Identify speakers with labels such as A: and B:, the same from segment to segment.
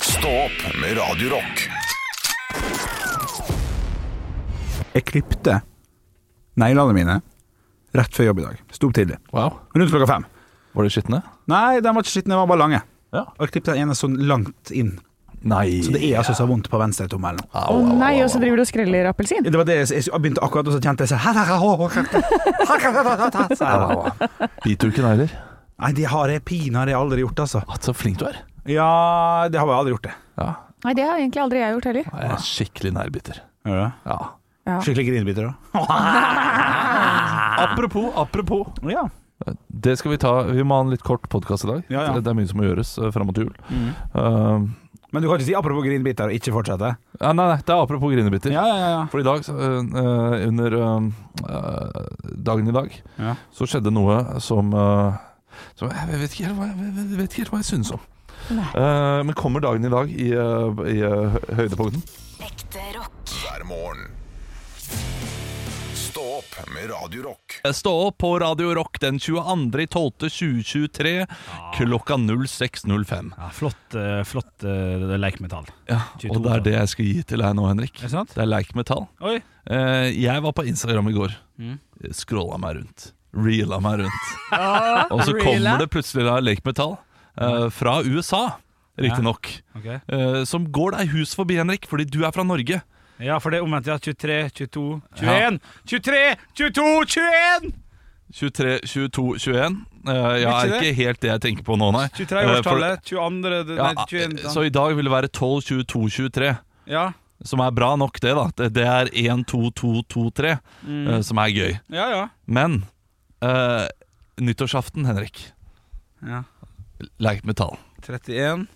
A: Stå opp med Radio Rock.
B: Jeg klipte neglene mine rett før jobb i dag. Sto opp tidlig.
C: Wow.
B: Rundt klokka fem.
C: Var de skitne?
B: Nei, de var ikke skitne, de var bare lange.
C: Ja.
B: Og jeg klippte den ene sånn langt inn.
C: Nei.
B: Så det er altså så vondt på venstre tommel nå.
C: Au,
D: Å
C: au, au,
D: nei,
C: au.
D: og så driver du og skreller appelsin?
B: Det var det jeg, jeg begynte akkurat, og så kjente jeg sånn
C: Biter du ikke negler?
B: Nei, det har jeg pinadø aldri gjort, altså.
C: Ah, Så flink du er.
B: Ja, det har jeg aldri gjort, det.
C: Ja.
D: Nei, det har egentlig aldri jeg gjort heller.
C: Jeg er skikkelig nærbiter. Ja.
D: Ja.
B: Skikkelig grinebiter òg.
C: Apropos, apropos.
B: Ja.
C: Det skal vi ta. Vi må ha en litt kort podkast i dag.
B: Ja, ja. Mm.
C: Det er mye som må gjøres eh, fram mot jul.
B: Men du kan ikke si apropos grinebiter og ikke fortsette?
C: Eh, ja, nei, nei, det er apropos grinebiter.
B: Ja, ja, ja.
C: For i dag, så, eh, under eh, dagen i dag,
B: Ja.
C: så skjedde noe som, eh, som jeg, vet ikke helt hva, jeg jeg vet ikke helt hva jeg synes om. Eh, men kommer dagen i dag i, eh, i eh, høydepunkten?
E: Ekte rock.
A: Hver morgen. Stå opp med Radio Rock.
C: Stå opp på Radio Rock den 22.12.2023 klokka 06.05.
F: Ja, flott eh, flott uh, leikmetall.
C: Ja, og
F: 22,
C: det er
F: da.
C: det jeg skal gi til deg nå, Henrik.
F: Er det sant?
C: Det er like metall.
F: Oi!
C: Eh, jeg var på Instagram i går. Scrolla meg rundt. Reela meg rundt. og så
D: reela.
C: kommer det plutselig da Lake Metal eh, fra USA, riktignok.
F: Ok.
C: Eh, som går deg hus forbi, Henrik, fordi du er fra Norge.
F: Ja, for det er omvendt. Ja, 23, 22, 21! 23, 22, 21!
C: 23, 22, 21. Eh, jeg er
F: Ikke det?
C: ikke helt det jeg tenker på nå, nei.
F: 23
C: Eh, for-
F: årstallet. 22. det-
C: Ja, eh,
F: Nei, 21.
C: så i dag vil det være 12, 22, 23.
F: Ja,
C: Som er bra nok, det, da. Det, det er 1, 2, 2, 2, 3, eh, som er gøy.
F: Mm. ja. ja.
C: Men eh, nyttårsaften, Henrik.
F: ja.
C: Like Metal.
F: 31,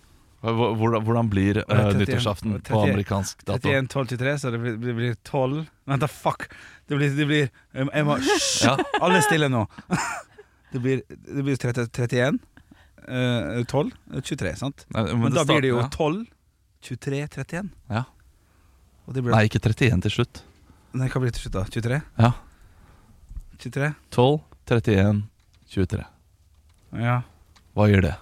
C: Hvor- Hvordan, hvordan blir eh,
F: 31,
C: nyttårsaften på
F: 31,
C: amerikansk dato?
F: 31, 12, 23, så det blir, det blir 12 Vent, da, fuck! Det blir, det blir jeg må- jeg må, Hysj!
C: Ja.
F: Alle stille nå. Det blir, det blir 30, 31, eh, 12, eh, 23, sant?
C: Nei,
F: Men, da
C: starter-
F: blir det jo
C: ja.
F: 12, 23, 31.
C: Ja.
F: Og det blir
C: Nei, ikke 31 til slutt.
F: Nei, hva blir det til slutt da? 23?
C: Ja.
F: 23?
C: 12, 31, 23.
F: Ja.
C: Hva gjør det?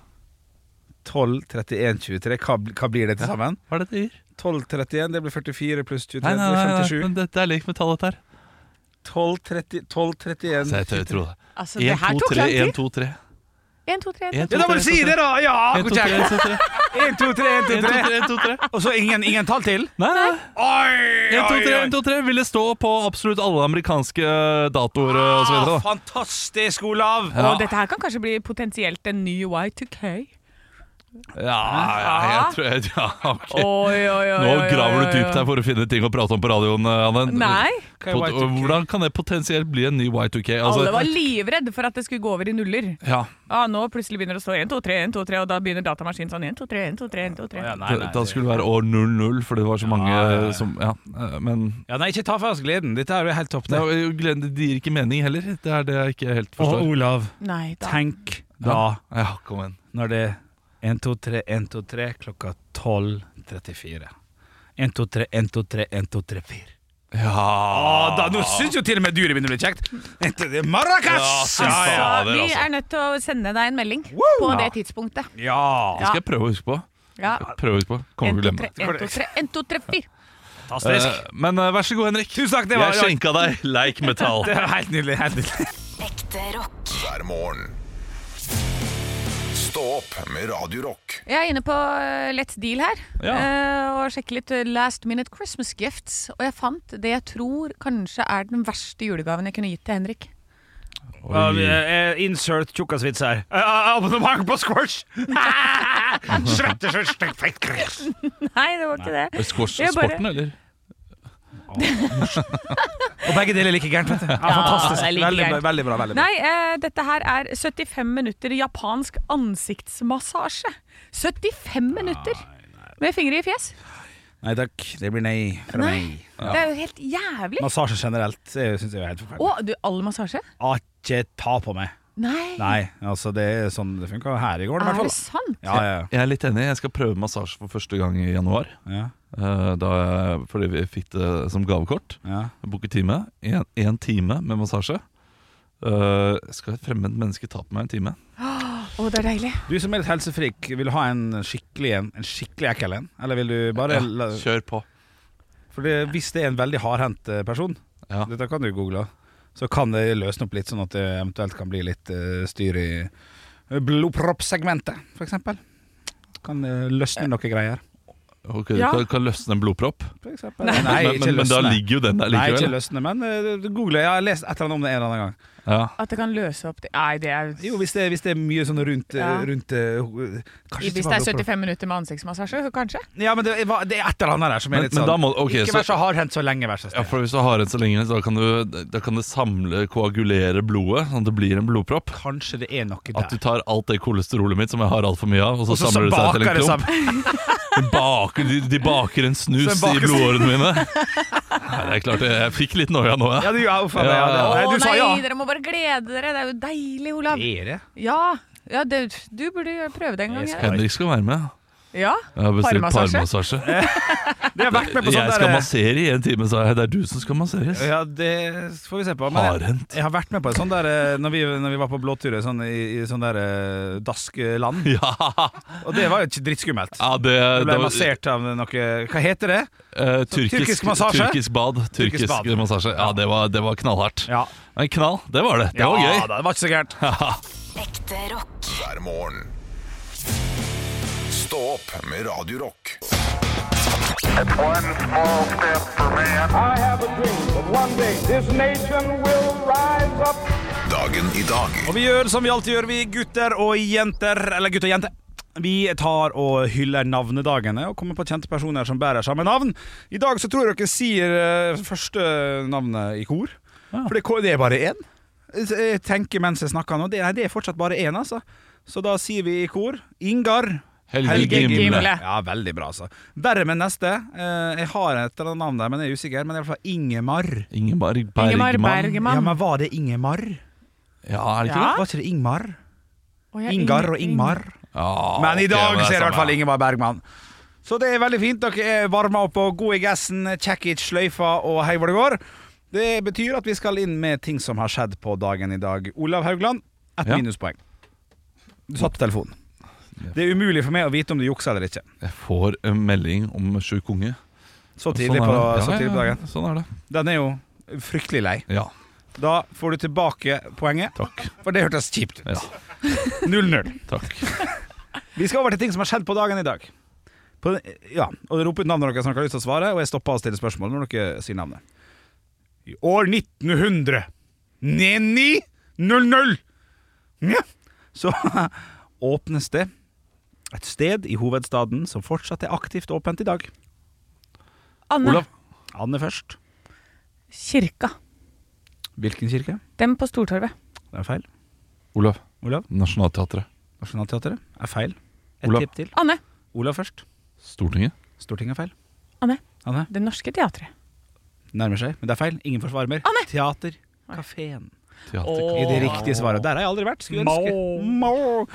F: 12, 31, 23. Hva, bl- hva blir det til sammen?
C: Hva er det det gir?
F: 12, 31, det blir 44 pluss 23,
C: Nei, nei, nei,
F: det
C: nei,
F: blir 57.
C: men dette er lik metall, dette her.
F: 12, 30, 12, 31
C: Så jeg tør
F: 23.
C: tro det.
D: Altså,
C: 1,
D: det her
C: 2,
D: tok
C: 3,
D: lang
C: 1,
D: tid.
C: 2, 3.
D: 1, 2, 3.
C: 1, 2,
F: Ja, da må du si det, da! Ja!
C: 1, 2, 3, 1, 2, 3.
F: 1, 2, 3, 1, 2, 3.
C: 1, 2, 3.
F: Og så ingen, ingen tall til?
C: Nei, nei.
F: Oi,
C: 1, 2, 3, 1, 2, 3 ville stå på absolutt alle amerikanske datoer eh, og så videre.
F: Ah,
C: da.
F: fantastisk, Olav!
D: Og dette her kan kanskje bli potensielt en ny Y2K.
C: Ja, ja, jeg tror jeg, ja, ok.
D: Ah. Oi, oi, oi, oi,
C: Nå graver du
D: oi, oi.
C: dypt her for å finne ting å prate om på radioen, eh, Anne.
D: Nei.
F: Hva er
C: Pot-
F: Y2K?
C: og Hvordan kan det potensielt bli en ny Y2K? Altså,
D: Alle var livredd for at det skulle gå over i nuller.
C: ja,
D: Ah, nå plutselig begynner det å stå 1, 2, 3, 1, 2, 3, og da begynner datamaskinen sånn 1, 2, 3, 1, 2, 3, 1, 2, 3.
F: Ja, nei,
C: da,
F: nei,
C: da
F: det-
C: skulle det være år 00, fordi det var så mange
F: ja, ja.
C: eh, som Ja, eh, men
F: ja, nei, ikke ta fra oss gleden. Dette er jo helt topp.
C: det,
F: Det.
C: er jo- gleden- det gir ikke mening heller. Det er det jeg ikke helt forstår.
F: Olav,
D: Nei da.
F: tenk da
C: Ja, kom igjen.
F: når det er 1, 2, 3, 1, 2, 3 klokka 12.34. 1, 2, 3, 1, 2, 3, 1, 2, 3, 4.
C: Ja
F: da, nå syns jo til og med dyret begynner blir kjekt. Marrakech!
C: Ja,
D: Altså,
C: ja, det er
D: vi
C: altså.
D: er nødt til å sende deg en melding på det tidspunktet.
F: Ja,
C: Det skal jeg prøve å huske på.
D: Ja.
C: Prøve å huske på.
D: 1,
C: Kommer til
D: 2,
C: å glemme
D: 3, 1, 2, 3, 1, 2, 3, 4.
C: det.
F: fantastisk.
C: Eh, Men eh, vær så god, Henrik.
F: Tusen takk, det var
C: Jeg skjenka deg leik metall.
F: det var helt nydelig. Helt nydelig.
E: Ekte rock.
A: Hver morgen. Stå opp med Radio Rock.
D: Jeg er inne på eh, Let's Deal her
C: Ja.
D: eh, og sjekker litt eh, Last Minute Christmas Gifts. Og jeg fant det jeg tror kanskje er den verste julegaven jeg kunne gitt til Henrik.
F: Ja, vi, eh, insert tjukkasvits her. Eh, eh, Abonnement på squash! Svette, svette, svette, fett.
D: Nei, det var ikke det.
C: Squash
D: Jeg bare-
C: sporten, eller?
F: Og begge deler er like gærent. vet du. Ja, fantastisk.
D: det er like
F: veldig, bra,
D: gærent.
F: veldig bra. veldig bra
D: Nei, eh, dette her er 75 minutter japansk ansiktsmassasje. 75 minutter med fingre i fjes.
F: Nei takk, det blir nei fra
D: Nei.
F: meg.
D: Det er jo helt jævlig.
F: Massasje generelt syns jeg er helt forferdelig.
D: Å, du, all massasje?
F: Ah, Ikke ta på meg.
D: Nei.
F: Nei, altså det er sånn det funka her i går, i
D: Er
F: hvert
D: det
F: fall.
D: sant?
F: Ja, ja,
C: Jeg er litt enig. Jeg skal prøve massasje for første gang i januar.
F: ja,
C: eh, Da jeg, fordi vi fikk det som gavekort.
F: ja.
C: Jeg Booker time. En, en time med massasje. Eh, skal et fremmed menneske ta på meg en time?
D: Å, det er deilig.
F: Du som er litt helsefrik, vil du ha en skikkelig en? En skikkelig ekkel en? Eller vil du bare la,
C: Ja, kjør på.
F: For det, hvis det er en veldig hardhendt eh, person,
C: Ja.
F: dette kan du google, så kan det løsne opp litt, sånn at det eventuelt kan bli litt eh, styr i eh, blodproppsegmentet, f.eks. Kan eh, løsne noe greier.
C: Ok,
D: Ja.
C: kan, kan løsne en blodpropp?
F: For eksempel. Nei,
C: men,
F: ikke
C: men, men da
F: løsne.
C: ligger jo den der
F: Nei, ikke
C: likevel.
F: løsne, men eh, google. Jeg har lest et eller annet om det en eller annen gang.
C: ja.
D: At det kan løse opp det Nei, det er
F: Jo, Hvis det, hvis det er mye sånn rundt, eh,
D: Ja.
F: rundt eh, ho- kanskje ikke
D: Hvis det
F: bare
D: er
F: blodpropp.
D: 75 minutter med ansiktsmassasje, så kanskje?
F: Ja, men det, er- det er et eller annet der som er
C: Men-
F: litt
C: men
F: sånn
C: da må- ok,
F: Ikke
C: så-
F: vær så hardhendt så lenge, vær så
C: ja,
F: snill.
C: for hvis du har en så lenge, så kan, du, da kan det samle, koagulere blodet, sånn at det blir en blodpropp.
F: Kanskje det er noe der.
C: At du tar alt det kolesterolet mitt som jeg har altfor mye av, og så,
F: Og så- så
C: samler det seg til en
F: baker det
C: klump.
F: sammen.
C: De baker, de, de baker en snus
F: Så baker-
C: i blodårene mine. Nei, det er klart, jeg, jeg fikk litt noia nå,
F: Ja,
C: jeg.
F: du, ja, uff, ja, ja,
D: Å
F: ja. Nei,
D: nei,
F: du sa ja.
D: dere må bare glede dere. Det er jo deilig, Olav.
F: Det er det.
D: Ja, ja det, du burde jo prøve det en gang.
F: Jeg skal-
D: Ja.
C: Henrik skal være med.
D: ja.
C: Jeg har bestilt
D: Parmassasje?
C: parmassasje.
F: Det har vært med på sånn
C: Jeg skal
F: der- eh,
C: massere i en time, sa jeg. Det er du som skal masseres.
F: Ja, det får vi se på. Men jeg,
C: Hardhendt.
F: jeg har vært med på en sånn der eh, Når vi, når vi var på blåturer sånn, i, i sånn der eh, daskeland,
C: Ja,
F: og det var jo ikke drittskummelt.
C: ja det,
F: Jeg
C: det
F: ble
C: var-
F: massert av noe Hva heter det?
C: eh,
F: tyrkisk
C: tyrkisk,
F: massasje?
C: tyrkisk bad. Tyrkisk,
F: Tyrkisk bad.
C: massasje. Ja, det var, det var knallhardt.
F: Ja,
C: Men knall, det var det. Det var
F: ja,
C: gøy.
F: da, det var ikke så gærent.
E: Ekte rock.
A: hver morgen. Stå opp med Radio Rock.
G: One small step for man. I have a dream that one day this nation will rise up.
A: Dagen i dag
F: Og vi gjør som vi alltid gjør, vi gutter og jenter. Eller gutt og jente. Vi tar og hyller navnedagene og kommer på kjente personer som bærer samme navn. I dag så tror jeg dere sier eh, første navnet i kor. For det, ko- det er bare én. Jeg tenker mens jeg snakker nå. Det, nei, det er fortsatt bare én, altså. Så da sier vi i kor Ingar.
C: Helge
D: Gimle.
F: Ja, veldig bra, altså. Verre med neste. Eh, Jeg har et eller annet navn der, men jeg er usikker. Men det er i hvert fall Ingemar.
C: Ingeborg
D: Ingemar
C: Bergman.
F: Ja,
D: Bergman.
F: men var det Ingemar?
C: Ja, er det ikke
D: Ja.
F: Var ikke det Ingmar?
D: Å, ja,
F: Ingar og
D: Ing-
F: Ingmar.
C: det? Ja,
F: Men i
C: ok,
F: dag
C: men det
F: ser jeg i
C: samme.
F: hvert fall Ingeborg Bergman. Så det er veldig fint. Dere er varma opp og gode i gassen. Kjekkic, sløyfa og hei hvor det går. Det betyr at vi skal inn med ting som har skjedd på dagen i dag. Olav Haugland, ett
C: Ja.
F: minuspoeng. Du satt på telefonen. Det er umulig for meg å vite om du juksa eller ikke.
C: Jeg får en melding om sju konge.
F: Så
C: Sånn
F: tidlig,
C: er
F: på,
C: det.
F: så
C: Ja,
F: tidlig på
C: ja,
F: dagen.
C: Sånn er det.
F: Den er jo fryktelig lei.
C: Ja.
F: Da får du tilbake poenget,
C: Takk.
F: for det hørtes kjipt ut.
C: Ja,
F: 0-0.
C: takk.
F: Vi skal over til ting som har skjedd på dagen i dag. På, ja, og Rop ut navnet deres når dere har lyst til å svare, og jeg stopper og stiller spørsmål når dere sier navnet. I år 1900 Neni 00 ja. Så åpnes det et sted i hovedstaden som fortsatt er aktivt åpent i dag.
D: Anne.
C: Olav.
F: Anne først.
D: Kirka.
F: Hvilken kirke?
D: Dem på Stortorvet.
F: Det er feil.
C: Olav.
F: Olav.
C: Nationaltheatret.
F: Nationaltheatret er feil. Et
C: Olav.
F: tipp til.
D: Anne.
F: Olav først.
C: Stortinget.
F: Stortinget er feil.
D: Anne.
F: Anne
D: Det Norske Teatret.
F: nærmer seg, men det er feil. Ingen forsvarer mer.
D: Anne.
F: Teater. Kafeen.
C: Teater.
F: i det riktige svaret. Der har jeg aldri vært. Skulle ønske. Mau.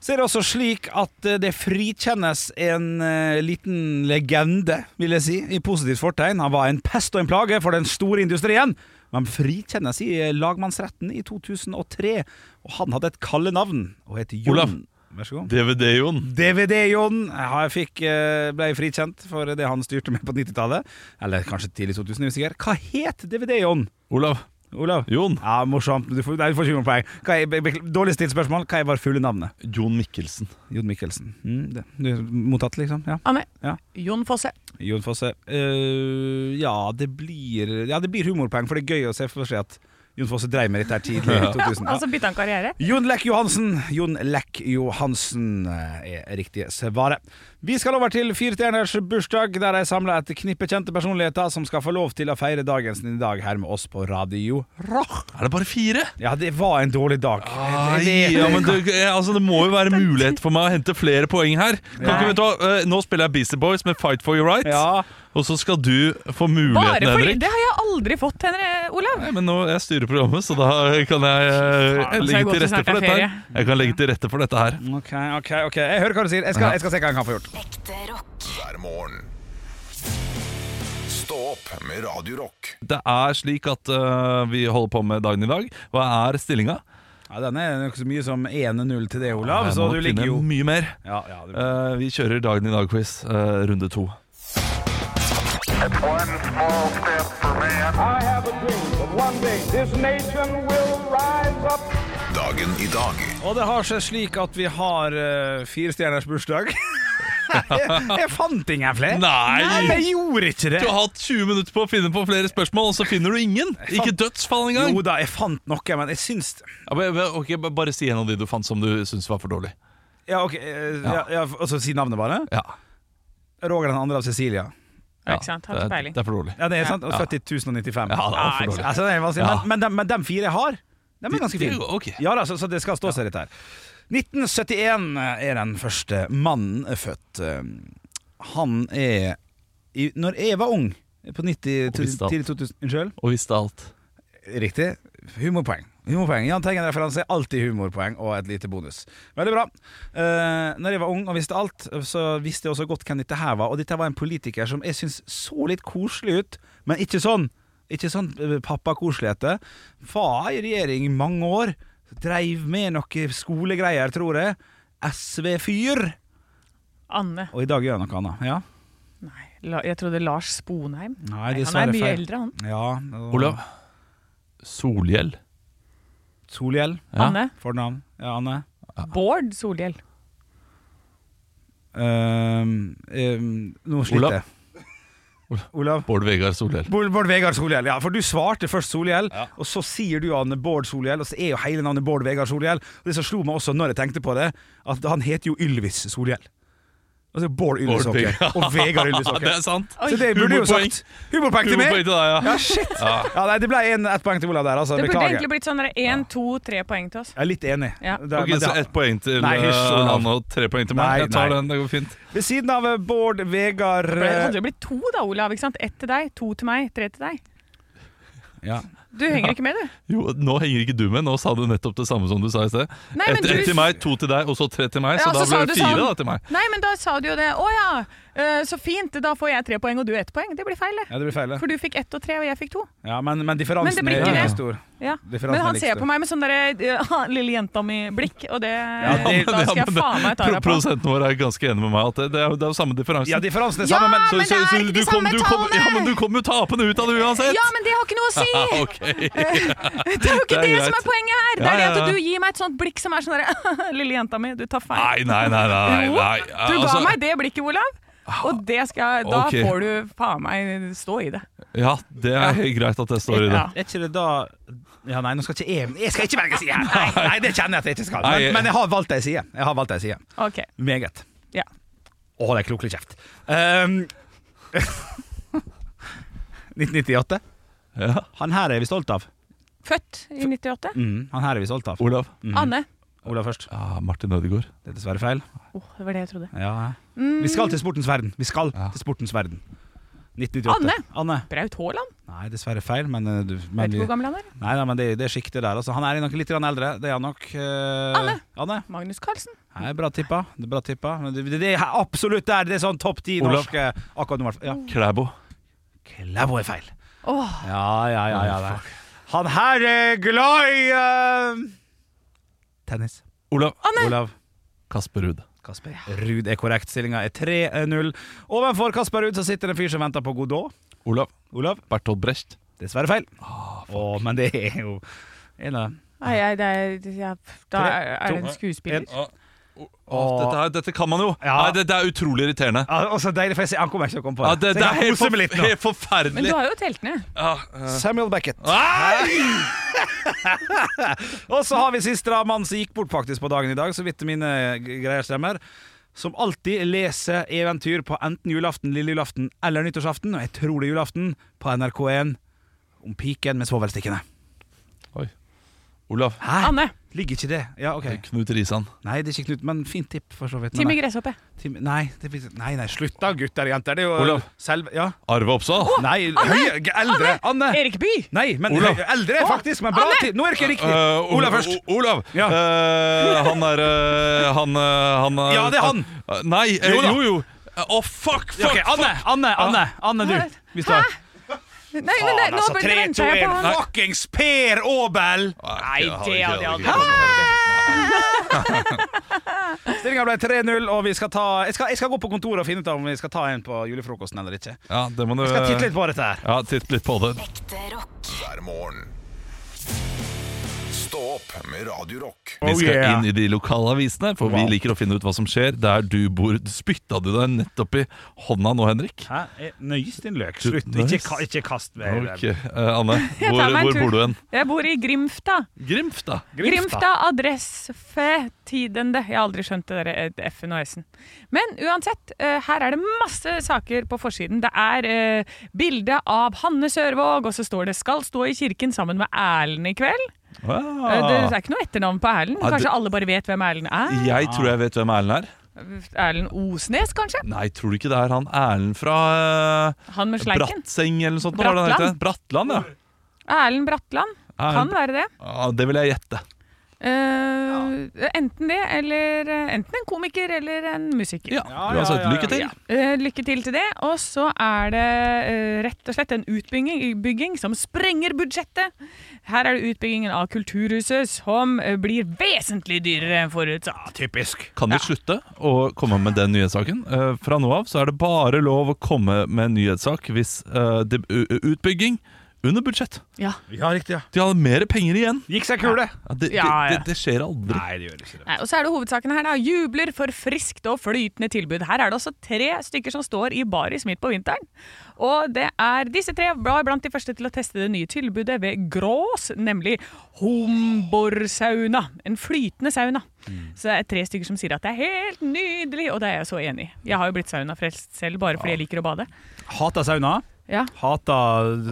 F: Så er det også slik at eh, det frikjennes en eh, liten legende, vil jeg si, i positivt fortegn. Han var en pest og en plage for den store industrien. Men frikjennes i eh, lagmannsretten i 2003. Og han hadde et kallenavn og het Jon.
C: Olav.
F: Vær så god.
C: DVD-Jon.
F: DVD-Jon fikk, eh, ble frikjent for det han styrte med på 90-tallet. Eller kanskje tidlig 2000, jeg er usikker. Hva het DVD-Jon?
C: Olav.
F: Olav?
C: Jon.
F: Ja, morsomt. Du får, nei, du får 20 poeng. Hva er, be- bekl- dårlig stilt spørsmål. Hva er bare fulle navnet?
C: Jon Mikkelsen.
F: Jon Mikkelsen. Mm, det, du, mottatt, liksom? Ja.
D: Anne.
F: Ja.
D: Jon Fosse.
F: Jon Fosse. Eh, ja, det blir, ja, det blir humorpoeng, for det er gøy å se for seg at Jon Fosse dreiv med dette her tidlig i 2000. Ja.
D: Altså bytta han karriere.
F: Jon Lekk Johansen. Jon Lekk Johansen eh, er riktig svaret. Vi skal over til firestjerners bursdag, der jeg samla et knippe kjente personligheter som skal få lov til å feire dagen sin i dag her med oss på Radio Rock.
C: Er det bare fire?
F: Ja, det var en dårlig dag.
C: Ai, ja, men det, eh, altså, det må jo være mulighet for meg å hente flere poeng her. Kan ikke, vet du, hva, eh, nå spiller jeg Beastie Boys med Fight for your right,
F: Ja.
C: og så skal du få
D: Bare
C: muligheten,
D: fordi
C: Henrik.
D: Det har jeg aldri fått, Henrik Olav.
C: Nei, men nå, Jeg styrer programmet, så da kan jeg eh,
D: Faen, så jeg
C: legge
D: går
C: til
D: til
C: rette for
D: snart er
C: dette her.
D: ferie.
C: Jeg kan legge til rette for dette her.
F: Ok, ok, ok. Jeg hører hva du sier. Jeg skal,
C: Ja.
F: jeg skal se hva jeg kan få gjort.
E: Ekte rock.
A: hver morgen. Stå opp med Radio Rock.
C: Det er slik at eh, vi holder på med dagen i dag. Hva er stillinga?
F: Ja, denne er nok så mye som 1-0 til det, Olav.
C: Jeg må
F: så du
C: finne
F: ligger jo
C: Mye mer.
F: ja, ja, det-
C: Eh, vi kjører Dagen i dag-quiz, eh, runde to.
G: It's one small step for man. I have a dream that one day this nation will rise up.
A: Dagen i dag.
F: Og det har seg slik at vi har uh, firestjerners bursdag. jeg, jeg fant ingen flere.
C: Nei!
F: men jeg gjorde ikke det.
C: Du har hatt 20 minutter på å finne på flere spørsmål, og så finner du ingen! Ikke dødsfall engang!
F: Jo da, jeg fant noe, men jeg syns
C: Ja, men- men, ok, ba- Bare si en av de du fant som du syntes var for dårlig.
F: Ja, ok, eh, ja, ja, og så si navnet bare.
C: Ja,
F: Roger den andre av Cecilia.
C: ja.
D: Ikke sant? Har
C: det,
D: ikke
C: er-
D: peiling.
C: det er for dårlig.
F: Ja, det er sant. Og 70
C: Ja,
F: 095.
C: det er for dårlig.
F: Altså, det er vanskelig.
C: Ja.
F: Men, men, de, men de fire jeg har, de er ganske
C: de er
F: fine.
C: jo ok.
F: Ja da, så, så det skal stå seg litt her. 1971 er den første mannen født. Eh, Han er i, Når jeg var ung, på 90,
C: Og visste alt.
F: tidlig 2000 Unnskyld?
C: Og visste alt.
F: Riktig. Humorpoeng. humorpoeng. Jahn Teigen-referanse. Alltid humorpoeng og et lite bonus. Veldig bra. Eh, når jeg var ung og visste alt, så visste jeg også godt hvem dette her var. Og dette var en politiker som jeg syns så litt koselig ut, men ikke sånn. Ikke sånn eh, pappa-koseligheter. Var i regjering i mange år. Dreiv med noe skolegreier, tror jeg. SV-fyr.
D: Anne.
F: Og i dag gjør han noe annet. Ja.
D: Nei, La, jeg trodde Lars Sponheim.
F: Nei,
D: han er
F: dessverre
D: mye
F: feil.
D: eldre, han.
F: Ja, og-
C: Olav. Solhjell.
F: Solhjell.
C: Ja.
D: Anne.
F: Fornavn. Ja, Anne.
D: Bård Solhjell.
F: Ehm, ehm, nå
C: Olav.
F: sliter jeg. Olav.
C: Bård Vegar Solhjell.
F: Bård, Bård Vegar Solhjell, ja. For du svarte først Solhjell, og så sier du Anne Bård Solhjell, og så er jo hele navnet Bård Vegar Solhjell. Og det som slo meg også når jeg tenkte på det, at han heter jo Ylvis Solhjell. Altså Bård Ylvis
C: Bård
F: Åker
C: Vegar.
F: og Vegard Ylvis
C: Ja,
F: Åker.
C: det er sant!
F: Så det burde du jo
C: Humorpoeng.
F: sagt. Humorpoeng til
C: Humorpoeng
F: meg!
C: til deg, ja.
F: Ja, shit. Ja, nei, det ble en, ett poeng til Olav der, altså.
D: Det burde
F: Beklager.
D: egentlig blitt sånn der én, to, tre poeng til oss.
F: Jeg er litt enig.
D: Ja.
F: Det-
C: Ok,
F: men det-
C: Så ett poeng til
F: Nei, hysj,
C: eh,
F: Olav.
C: Anne og tre poeng til meg.
F: Nei,
C: jeg tar
F: nei.
C: den, det går fint.
F: Ved siden av eh, Bård Vegar
D: Det ble-
F: eh,
D: hadde jo blitt to da, Olav. ikke sant? Ett til deg, to til meg, tre til deg.
F: ja.
D: Du henger ikke med, du.
C: Jo, Nå henger ikke du med. Nå sa du nettopp det samme som du sa i sted.
D: Nei, men
C: Ett
D: du-
C: ett til meg, to til deg, og så tre til meg.
D: Ja,
C: så da
D: så sa
C: blir
D: du
C: det fire
D: sånn.
C: da, til meg.
D: Nei, men da sa du jo det. Å ja, eh, så fint. Da får jeg tre poeng og du ett poeng. Det blir feil,
F: ja,
D: det.
F: det blir feil. det.
D: For du fikk ett og tre, og jeg fikk to.
F: Ja, men, men differansen
D: Men det blir
F: er
D: ikke det.
F: like stor.
D: Ja.
F: Differansen
D: Men
F: er
D: han
F: like
D: ser
F: stor.
D: på meg med sånn derre eh, lille jenta mi-blikk, og det,
F: det-
D: Da skal
C: Ja,
D: jeg
C: men det-
D: faen meg ta deg på.
C: Produsenten vår er ganske enig med meg. At det, det, er, jo- det er jo samme differanse.
F: Ja, differansen er samme, men
D: men det er ikke de
C: du kom-
D: samme
C: du kom-
D: tallene!
C: Ja, men du kommer jo tapende ut av det uansett!
D: Ja, men det har ikke noe å si!
C: Ah, ok.
D: Det er jo ikke
C: Det er
D: det,
C: greit.
D: som er poenget her! Det
C: Ja,
D: er det
C: ja, ja.
D: at du gir meg et sånt blikk som er sånn derre Lille jenta mi, du tar feil.
C: Nei, nei, nei. nei,
D: Jo,
C: nei.
D: Du ga
C: Altså, Ah,
D: meg det blikket, Olav. Og det skal, da
C: Ok.
D: får du faen meg stå i det.
C: Ja, det er helt greit at det står i det.
D: Ja.
F: Er ikke det da Ja, nei, nå skal ikke jeg Jeg skal ikke velge side! Nei, nei, det kjenner jeg at jeg ikke skal.
C: Nei, jeg-
F: Men, men jeg har valgt ei side. Jeg har valgt ei side.
D: Ok,
F: Meget.
D: ja.
F: Å, det er klokelig kjeft. Ehm, 1998.
C: Ja.
F: Han her er vi stolt av.
D: Født i 98.
F: Mm, han her er vi stolt av.
C: Olav?
D: Anne.
F: Olav først.
C: Ja, Martin Ødegaard.
F: Det er dessverre feil.
D: Åh, det var det jeg trodde.
F: Ja.
D: Mm.
F: Vi skal til sportens verden. Vi skal til sportens verden. 1998.
D: Anne. Braut Haaland.
F: Nei, dessverre feil, men, eh, du, men
D: Vet
F: vi,
D: ikke hvor gammel han er.
F: Nei, nei, men det, det er sjiktet der. Altså. Han er nok litt grann eldre. Det er han nok. eh,
D: Anne.
F: Anne.
D: Magnus Carlsen.
F: Nei, bra tippa. Det er bra tippa. Men det, det er absolutt der. Det er sånn topp ti
C: Olav.
F: norske akkurat nummer ja.
C: Klæbo.
F: Klæbo er feil.
D: Åh,
F: Ja, ja, ja. ja det. Han her er glad i eh, tennis.
C: Olav.
D: Anne.
F: Olav.
C: Kasper Ruud.
F: Kasper Ruud er korrekt. Stillinga er 3-0. Ovenfor Kasper Ruud så sitter det en fyr som venter på Godot.
C: Olav.
F: Olav.
C: Bertolt Brecht.
F: Dessverre feil. Å, men det er jo en av
D: Nei, jeg, det er, ja, da er, er det en skuespiller.
C: dette, her- dette kan man jo!
F: Ja.
C: Nei, det, det er utrolig irriterende.
F: Ja, og så Ah, deilig, for jeg ser, han kommer ikke til å komme på
C: Ja,
F: det.
C: det,
F: Så
C: det er
F: jeg kan
C: helt,
F: kose
C: for,
F: meg litt nå.
C: helt
D: Men du
C: forferdelig!
D: har jo telt ned.
C: Ja, eh.
F: Samuel Beckett.
C: Ah!
F: Og så har vi siste da, mann som gikk bort faktisk på dagen i dag, så vidt mine g- greier stemmer. Som alltid leser eventyr på enten julaften, lille julaften eller nyttårsaften, og jeg tror det er julaften, på NRK1 om piken med svovelstikkene.
C: Oi. Olav.
F: Hæ?
D: Anne.
F: Ligger ikke det? Ja, ok.
C: Knut Risan.
F: Nei, det er ikke Knut, men fint tipp, for så vidt. Men
D: Timmy
F: nei.
D: Gresshoppe.
F: Tim- Nei, det, blir- nei, nei, slutt da, gutter og jenter. Det er jo
C: Olav.
F: Selv, ja.
C: Arve Oppsal.
F: Nei, høye, eldre. Anne!
D: Erik By.
F: Nei, men
C: Olav.
F: høye- eldre, faktisk. Men bra
D: Anne.
F: tid. Nå er det ikke
C: Eh,
F: riktig.
C: Ol-
F: Olav først.
C: O- Olav.
F: Ja.
C: Eh, han er eh, han, eh, han eh,
F: Ja, det er han.
C: eh, nei, eh,
F: Jo da.
C: jo, jo. Eh, Å, fuck, fuck!
F: Ok, Anne, Anne, Anne, Anne,
D: Hæ?
F: du. Vi står.
D: Nei, nei, nei, nå
F: altså, tre,
D: venter
F: to,
D: jeg
F: en,
D: på han.
F: fuckings Per Aabel!
C: Nei,
D: det hadde jeg aldri
F: Stillinga ble 3-0, og vi skal ta jeg skal, jeg skal gå på kontoret og finne ut om vi skal ta en på julefrokosten eller ikke.
C: Ja, det må du
F: Jeg skal titte litt på dette her.
C: Ja, titt litt på det.
E: Ekte rock.
A: hver morgen. Stå opp med Radio Rock.
F: Oh,
C: Vi skal
F: yeah.
C: inn i de lokale avisene, for vi liker å finne ut hva som skjer der du bor. Spytta du deg nettopp i hånda nå, Henrik?
F: Hæ? Eh, Nøys din løk.
C: Du-
F: Slutt.
C: nøys.
F: Ikke, ka- ikke kast meg.
C: Ok, eh, Anne,
D: Jeg
C: hvor,
D: tar meg en
C: hvor
D: tur.
C: bor du hen?
D: Jeg bor i Grimfta.
C: Grimf, da.
D: Grimfta adressfe tidende. Jeg har aldri skjønt det der eh, F-en og S-en. Men uansett, eh, her er det masse saker på forsiden. Det er eh, bilde av Hanne Sørvåg, og så står det 'Skal stå i kirken sammen med Erlend i kveld'. Eh,
C: Ah.
D: Det er ikke noe etternavn på Erlend.
C: Ja, det-
D: Kanskje alle bare vet hvem Erlend er?
C: Jeg tror jeg vet hvem Erlend er.
D: Erlend Osnes, kanskje?
C: Nei, tror du ikke det er han Erlend fra eh,
D: Han med sleiken?
C: Brattseng eller noe sånt? hva var det han
D: Bratland.
C: het? Bratland, ja.
D: Erlend Bratland. Kan
C: Erlend-
D: være det.
C: Ah, det vil jeg gjette.
D: Eh, Enten det, eller eh, enten en komiker eller en musiker.
C: Ja,
F: Ja,
C: uansett,
F: ja, ja, ja.
C: lykke til.
D: Eh, lykke til til det. Og så er det eh, rett og slett en utbygging bygging som sprenger budsjettet. Her er det utbyggingen av Kulturhuset, som eh, blir vesentlig dyrere enn forutsatt.
F: Typisk.
C: Kan vi slutte å komme med den nyhetssaken? Eh, fra nå av så er det bare lov å komme med en nyhetssak hvis eh, det, u- utbygging under budsjett.
D: Ja.
F: Ja, riktig. ja
C: De har mer penger igjen.
F: Gikk seg kule.
C: Ja, det,
D: Ja, ja.
C: Det, det, det skjer aldri.
F: Nei, det gjør ikke det.
D: Nei, og så er det hovedsaken her, da. Jubler for friskt og flytende tilbud. Her er det også tre stykker som står i baris midt på vinteren. Og det er disse tre var blant de første til å teste det nye tilbudet ved Grås, nemlig Homborsauna. En flytende sauna. Så det er tre stykker som sier at det er helt nydelig, og det er jeg så enig i. Jeg har jo blitt saunafrelst selv, bare fordi jeg liker å bade.
F: Hata sauna.
D: Ah. Ja.
F: Hata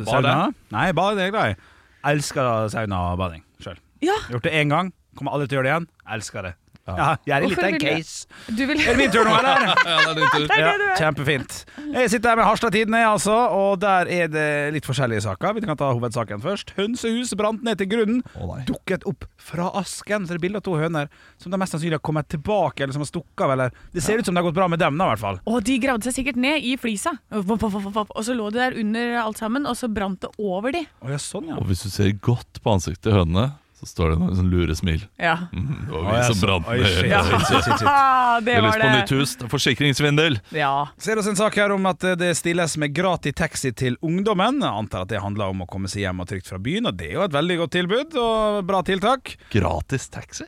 F: sauna.
C: Bade?
F: Nei, bare det er jeg glad i. Elsker sauna og bading sjøl.
D: ja
F: Gjort det én gang, kommer aldri til å gjøre det igjen. Elsker det. Ja, jeg er litt
D: Hvorfor
F: av en
D: vil jeg-
F: case.
D: du vil
F: Er det min tur nå, eller?
C: Ja, det er litt-
D: Det er
F: Ja,
D: det du er.
F: kjempefint. Jeg sitter her med Harstad Tidende, altså, og der er det litt forskjellige saker. Vi kan ta hovedsaken først. Hønsehus brant ned til grunnen.
C: Å, nei.
F: dukket opp fra asken. Så det er bilde av to høner som da mest sannsynlig har kommet tilbake, eller som har stukket av, eller Det ser ut som det har gått bra med dem, da, i hvert fall.
D: Og de gravde seg sikkert ned i flisa. Vop, vop, vop, vop. Og så lå de der under alt sammen, og så brant det over de.
F: Å ja, sånn, ja.
C: Og hvis du ser godt på ansiktet til hønene, så står det noe sånn lure smil.
D: Ja.
C: Mm, det var
F: Å,
C: vi
F: ja,
C: som
F: så-
C: brant
F: Oi,
C: ned.
F: shit,
C: Ja.
F: shit, shit, shit, shit.
D: Ah, det
C: Har
D: var
C: lyst på
D: det.
C: nytt hus, det er forsikringssvindel.
D: Ja.
F: Ser også en sak her om at eh, det stilles med gratis taxi til ungdommen. Jeg antar at det handler om å komme seg hjem og trygt fra byen, og det er jo et veldig godt tilbud og bra tiltak.
C: Gratis taxi?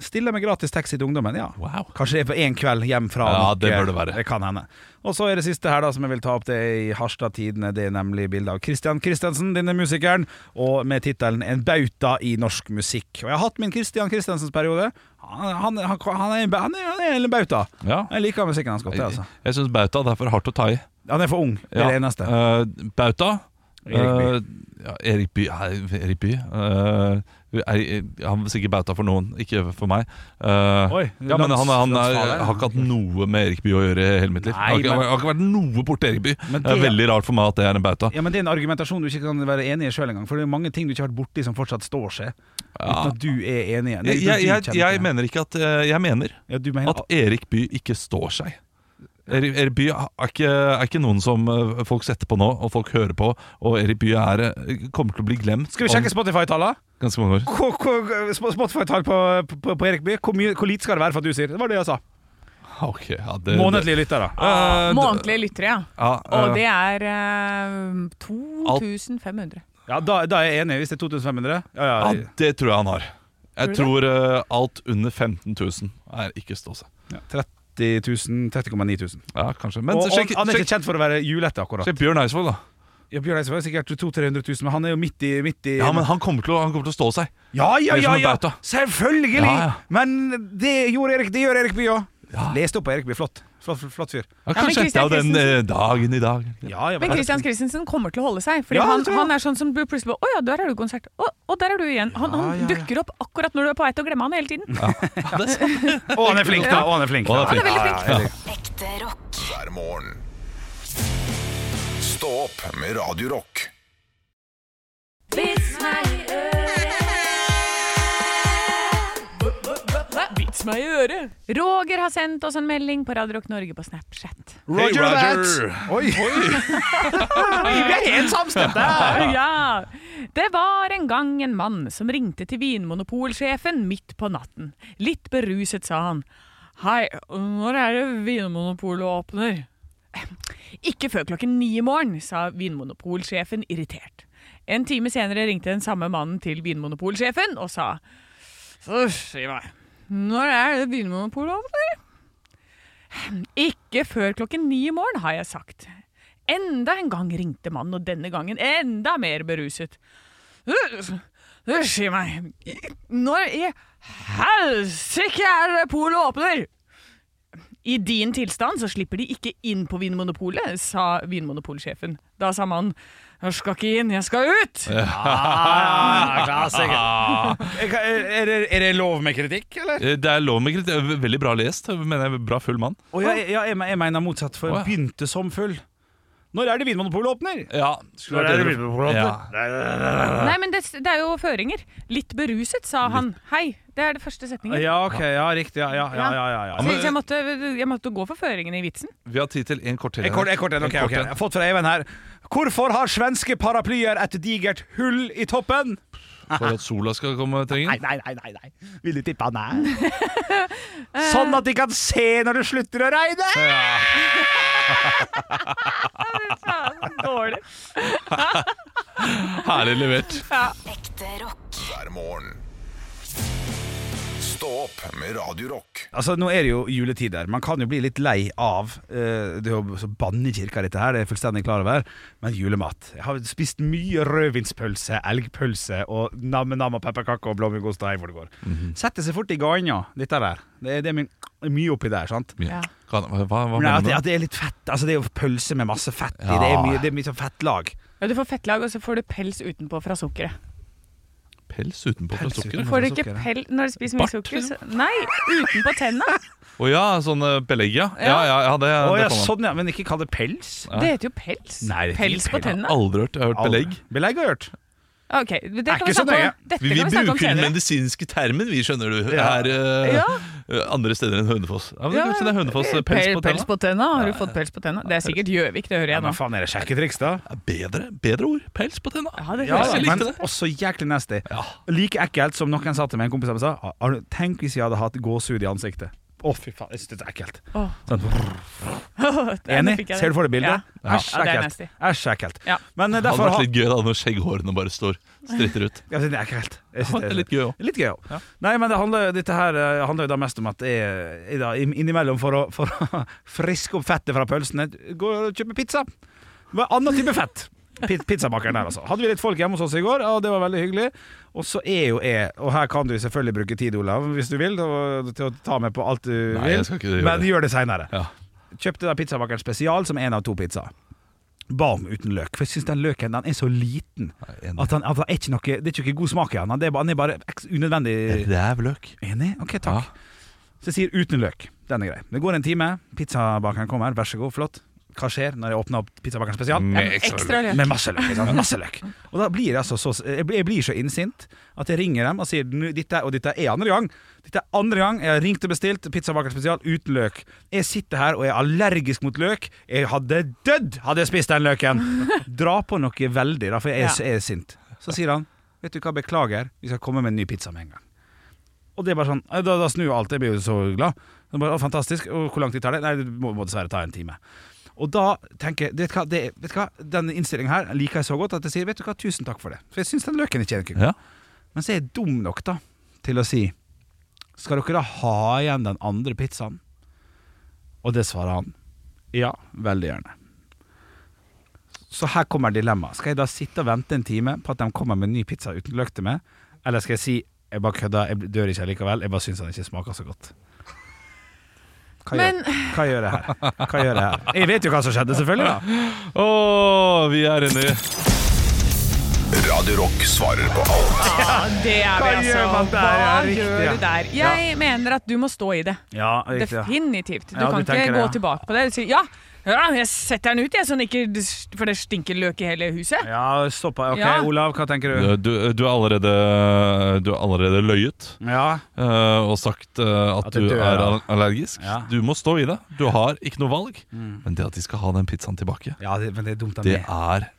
F: Stille med gratis taxi til ungdommen, ja.
C: Wow.
F: Kanskje det er på én kveld hjem fra
C: Ja,
F: noe.
C: det bør det være.
F: Det kan hende. Og så er det siste her da som jeg vil ta opp, det er i Harstad Tidende. Det er nemlig bilde av Christian Christensen, denne musikeren, og med tittelen 'En bauta i norsk musikk'. Og jeg har hatt min Christian Christensens periode. Han, han, han, han, er, en ba- han, er, han er en bauta.
C: Ja.
F: Jeg liker musikken hans godt, jeg,
C: Jeg,
F: altså.
C: jeg syns bauta det er for hardt å ta i.
F: Han er for ung, det er
C: Ja.
F: det eneste.
C: Eh, bauta
F: Erik Bye.
C: Eh, ja, Erik By, Erik By. Eh, er, Han var sikkert bauta for noen, ikke for meg. Eh,
F: Oi,
C: ja, men han, han,
F: lands-
C: er-
F: landsfader.
C: har ikke hatt noe med Erik By å gjøre i hele mitt liv.
F: Nei,
C: har, ikke,
F: men-
C: har ikke vært noe borti Erik By.
F: Men
C: det er
F: det-
C: veldig rart for meg at det er en bauta.
F: Ja, men Det er en argumentasjon du ikke kan være enig i sjøl engang. For det er mange ting du ikke har vært borti som fortsatt står seg.
C: Ja.
F: Uten at du er enig i Nei,
C: Jeg,
F: uten
C: jeg,
F: at du
C: jeg,
F: kjenner til
C: jeg
F: det.
C: mener ikke at eh, Jeg mener
F: ja, du mener
C: at Erik By ikke står seg. Erik Erik By er ikke, er ikke noen som eh, folk setter på nå, og folk hører på. Og Erik By er, eh, kommer til å bli glemt
F: Skal vi sjekke
C: om
F: Spotify-tallene?
C: ganske mange år.
F: Hvor- hvor- Sp- Spotify-tall på, på, på Erik Bye. Hvor, mye- hvor lite skal det være for at du sier det? var det jeg sa.
C: Ok, ja, det,
F: Månedlige lyttere.
C: Eh,
F: Ah,
C: d-
D: Månedlige lyttere, ja.
C: Ja,
D: Og
C: eh,
D: det er eh, 2500.
F: Ja, da, da er jeg enig, hvis det er 2500. Ja, ja.
C: ja, det tror jeg han har. Jeg
D: Tror
C: tror eh, alt under 15 000 er ikke stå seg.
F: ja. 30 000, 30,9 000.
C: Ja, kanskje. Men
F: Og, og
C: sjekk,
F: han er
C: sjekk,
F: ikke kjent for å være julete, akkurat.
C: sjekk Bjørn Eidsvåg, da.
F: Ja, Bjørn Eidsvåg er sikkert 200 000-300 000, men han er jo midt i, midt i
C: Ja, men han kommer til å, han kommer til å stå seg.
F: ja, ja,
C: Det er
F: ja,
C: som en
F: ja,
C: bauta.
F: Selvfølgelig!
C: Ja, ja.
F: Men det gjorde Erik, det gjør Erik Bye òg.
C: Ja.
F: Lest opp på Erik Bye. Flott. Flott, flott, flott fyr.
C: Ja,
D: men
C: kanskje det
D: Christian
C: er den eh, dagen i dag.
F: Ja, ja,
D: Men Christian Christensen kommer til å holde seg. Fordi
F: Ja,
D: han,
F: det tror jeg.
D: han er sånn som du plutselig bare Å ja, der er du i konsert. Å, å, der er du igjen. Han,
F: Ah, Ja,
D: han
F: ja, ja.
D: dukker opp akkurat når du er på vei til å glemme han hele tiden.
F: Å, han er flink, da. Å, han er flink.
C: Å, han er
F: Ja,
C: veldig
F: ja, ja, Erik.
E: Ekte rock.
A: hver morgen. Stå opp med Radio Rock.
D: Vits Vits meg i øret! Roger har sendt oss en melding på Radio Rock Norge på Snapchat.
F: Roger
C: Hey,
F: that!
C: Oi.
F: Vi er helt samstemte!
D: ja. Det var en gang en mann som ringte til vinmonopolsjefen midt på natten. Litt beruset sa han. Hei, når er det Vinmonopolet åpner? Ikke før klokken ni i morgen, sa vinmonopolsjefen irritert. En time senere ringte den samme mannen til vinmonopolsjefen og sa. «Uff, Si meg, når er det Vinmonopolet åpner? Ikke før klokken ni i morgen, har jeg sagt. Enda en gang ringte mannen, og denne gangen enda mer beruset. Unnskyld meg, når i helsike er det polet åpner? I din tilstand så slipper de ikke inn på Vinmonopolet, sa Vinmonopolsjefen. Da sa mannen, jeg skal ikke inn, jeg skal ut!
F: Er det, er det lov med kritikk, eller?
C: Eh, Det er lov med kritikk. Veldig bra lest, mener jeg. Bra full mann.
F: Å, ja, ja, jeg, jeg mener motsatt, for
C: Å, ja.
F: jeg begynte som full. Når er det Vinmonopolet åpner?
C: Ja. Skulle vært enig. Ja.
D: Nei, men det, det er jo føringer. Litt beruset, sa han. Hei, det er det første setningen.
F: Ja, ok, ja, riktig. Ja, ja, ja, ja, ja, ja.
D: Så jeg måtte, jeg måtte gå for føringene i vitsen.
C: Vi har tid til en kort til.
F: En kort, en kort en, ok, ok. Jeg har fått fra Even her. Hvorfor har svenske paraplyer et digert hull i toppen?
C: For at sola skal komme, trenger den.
F: nei, nei, nei, nei. Vil du tippe han er? sånn at de kan se når det slutter å regne!
D: Dårlig.
C: Herlig levert.
E: Ekte rock.
A: hver morgen. Stå opp med Radio Rock.
F: Altså, Nå er det jo juletider. Man kan jo bli litt lei av eh, Det er jo så bannekirka, dette her, det er jeg fullstendig klar over. Men julemat. Jeg har spist mye rødvinspølse, elgpølse og nam-nam og pepperkaker og blåmuggost og hei hvor det går.
C: Mhm.
F: Setter seg fort i gana, dette der. Det er, det er min, mye oppi der, sant.
C: Ja. Kan- Hva, hva
F: Men
C: mener
F: at,
C: du?
F: at det er litt fett. Altså, det er jo pølse med masse fett i.
C: Ja.
F: Det er mye, det er mye sånn fettlag.
D: Ja, du får fettlag, og så får du pels utenpå fra sukkeret.
C: Pels utenpå fra
F: Pels
C: sukkeret?
F: utenpå.
D: Får du
F: Fra
D: ikke
F: sukkeret?
D: pel når du spiser mye
C: Bart,
D: sukker? Så, nei, utenpå tenna.
C: Å ja, sånn eh, belegg, ja. Ja, ja, ja det,
F: Å
C: det
F: ja,
C: kan man.
F: sånn ja. Men ikke kall det pels.
D: Det heter jo pels.
F: Nei, det heter
D: pels
F: ikke
D: på
F: pels.
D: tenna.
C: Aldri hørt. Jeg har hørt belegg.
F: Belegg har jeg hørt.
D: Ok, det kan vi
F: ikke så
D: snakke
F: nøye.
D: om. Dette
C: Vi, vi
D: kan vi snakke om
C: bruker den
D: senere.
C: medisinske termen, vi skjønner du,
F: Ja.
C: her eh,
D: Ja.
C: eh, andre steder enn Hønefoss. Ja, men
D: Ja,
C: kanskje det er Hønefoss eh, pels
D: Pel-
C: på tenna?
D: Pels på tenna? Har du fått pels på tenna? Det er sikkert Gjøvik, det hører
F: Ja,
D: jeg nå.
F: men faen, er det sjekketriks, da?
C: Ja, bedre, bedre ord. Pels på tenna.
D: Ja, det
F: Ja,
D: høres
C: jeg
D: ut.
C: likte
F: men
C: det.
F: også jæklig nasty.
C: Ja.
F: Like ekkelt som noen sa til meg, en kompis av meg sa "Ah, har du- Tenk hvis jeg hadde hatt gåsehud i ansiktet. Å, fy faen, jeg synes det er ekkelt.
D: Åh.
F: Sånn,
D: Der
F: enig?
D: fikk jeg
F: Ser du for deg bildet?
D: Ja.
F: Æsj,
D: Ja, det er
F: ekkelt.
D: nasty.
F: Æsj, ekkelt.
D: Ja.
F: Men eh,
C: Det hadde
F: derfor
C: vært
F: har
C: litt gøy da når skjegghårene bare står stritter ut.
F: Ja, det er ekkelt. Jeg synes
C: Det er litt gøy òg.
F: Litt gøy òg. Nei, men det handler, dette her eh, handler jo da mest om at jeg, jeg da, inn- innimellom, for å, for å friske opp fettet fra pølsene, går og kjøper pizza. Hva er Annen type fett. Pi- Pizzabakeren der, altså. Hadde vi litt folk hjemme hos oss i går, og det var veldig hyggelig. Og så er jo jeg, og her kan du selvfølgelig bruke tid, Olav, hvis du vil, og, til å ta med på alt du
C: Nei,
F: vil,
C: jeg skal ikke gjøre
F: men
C: det.
F: gjør det seinere.
C: Ja.
F: Kjøpte da pizzabakeren spesial som én av to pizzaer. Ba om uten løk, for jeg syns den løken den er så liten.
C: enig.
F: At han, at han er ikke noe, Det er ikke noe god smak i han. Han er bare, han er bare eks- unødvendig
C: Rævløk.
F: Enig? Ok, takk. Så jeg sier uten løk. Den er grei. Det går en time, pizzabakeren kommer, vær så god, flott. Hva skjer når jeg åpner opp pizzabakeren spesial?
C: Med
D: Ekstra løk.
F: Med masse løk. ikke sant? Masse løk. Og da blir jeg, altså så, jeg blir- jeg blir så innsint at jeg ringer dem og sier "Nu, dette, Og dette er andre gang. Dette er andre gang jeg har ringt og bestilt pizzabaker spesial uten løk. Jeg sitter her og er allergisk mot løk. Jeg hadde dødd hadde jeg spist den løken! Dra på noe veldig, da, for jeg er, så- jeg er sint. Så sier han Vet du hva, beklager, vi skal komme med en ny pizza med en gang. Og det er bare sånn eh, Da, da snur jo alt. Jeg blir jo så glad. Det er bare, å, fantastisk. Og hvor lang tid tar det? Nei, det må, må dessverre ta en time. Og da tenker jeg, vet du hva, det, vet du hva denne innstillingen her liker jeg så godt at jeg sier, vet du hva, tusen takk for det. For jeg synes den løken ikke er noe god.
C: Ja.
F: Men så er jeg dum nok da, til å si, skal dere da ha igjen den andre pizzaen? Og det svarer han, ja, veldig gjerne. Så her kommer dilemmaet. Skal jeg da sitte og vente en time på at de kommer med en ny pizza uten løk til meg, eller skal jeg si, jeg bare kødder, jeg dør ikke likevel, jeg bare synes den ikke smaker så godt. Hva gjør,
D: Men-
F: hva gjør jeg her? Hva gjør jeg her? Jeg vet jo hva som skjedde, selvfølgelig da.
C: Å, vi er inne i
A: Radio Rock svarer på alt
D: Ja, det er vi,
F: Hva
D: altså.
F: gjør man der?
D: Hva
F: Ja, riktig,
D: gjør
F: ja.
D: du der? Jeg mener at du må stå i det.
F: Ja, riktig. ja.
D: Definitivt. Du
F: Ja, du
D: kan
F: tenker
D: ikke
F: det,
D: gå
F: ja.
D: tilbake på det. Du sier ja, Ja, jeg setter den ut, jeg, sånn ikke For det stinker løk i hele huset.
F: Ja, stoppa. Ok,
D: Ja.
F: Olav, hva tenker du?
C: Eh, Du, du, er allerede, du er allerede løyet
F: Ja,
C: eh, og sagt eh, at,
F: At det
C: du
F: dør,
C: er
F: ja.
C: al- allergisk.
F: Ja. Mm.
C: Du må stå i det. Du har ikke noe valg. Men det at de skal ha den pizzaen tilbake,
F: ja det, men det er dumt av
C: det
F: meg.
C: er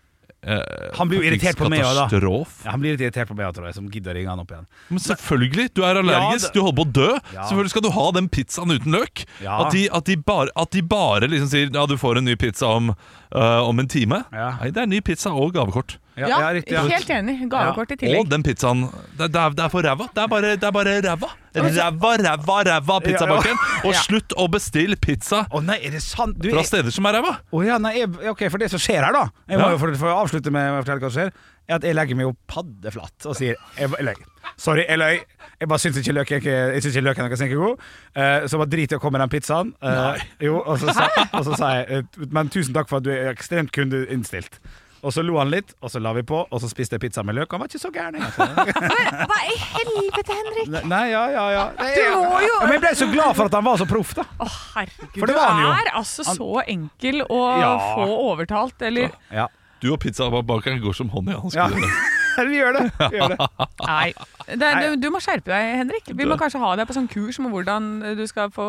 C: eh,
F: Han blir jo
C: faktisk
F: irritert på meg også, da.
C: Katastrof.
F: Ja, han blir litt irritert på meg, tror jeg, som gidder å ringe han opp igjen.
C: Men selvfølgelig, du er allergisk,
F: Ja, det-
C: du holder på å dø.
F: Ja.
C: Selvfølgelig skal du ha den pizzaen uten løk.
F: Ja.
C: At, de, at, de bare, at de bare liksom sier ja, du får en ny pizza om, eh, om en time.
F: Ja.
C: Nei, det er ny pizza og gavekort.
D: Ja,
F: riktig, ja.
D: helt enig. Gavekort i
C: Og
D: tillegg.
C: den pizzaen. Det, det, er, det er for ræva. Det er bare, det er bare ræva. Ræva, ræva, ræva pizzabakeren. Og slutt å bestille pizza
F: Å nei, er det sant? Du,
C: fra
F: jeg,
C: steder som er ræva.
F: Å ja, nei, jeg, ok, for det som skjer her, da Jeg må
C: Ja.
F: jo for, for å avslutte med å fortelle hva som skjer, er at jeg legger meg jo paddeflatt og sier Jeg, jeg løy. Sorry, jeg løy. Jeg bare syns ikke løken er- jeg syns ikke løken er noe sinkegod. Uh, så bare drit i å komme med den pizzaen. Eh, jo, og så, sa, og så sa jeg eh, Men tusen takk for at du er ekstremt kundeinnstilt. Og så lo han litt, og så la vi på, og så spiste jeg pizza med løk. og Han var ikke så gæren. egentlig.
E: Hva i helvete, Henrik?
F: Nei, Nei, ja, ja, ja. Nei,
D: Du
F: ja.
D: må jo
F: Ja, Men jeg ble så glad for at han var så proff, da.
D: Å, herregud.
F: For
D: Du
F: det var han jo.
D: er altså så enkel å
F: Ja.
D: få overtalt, eller
F: Ja,
C: Du og pizzabakeren går som hånd i hanske.
F: Ja. vi gjør det. Vi gjør det.
D: Nei. Det, du, du må skjerpe deg, Henrik. Vi må kanskje ha deg på sånn kurs om hvordan du skal få,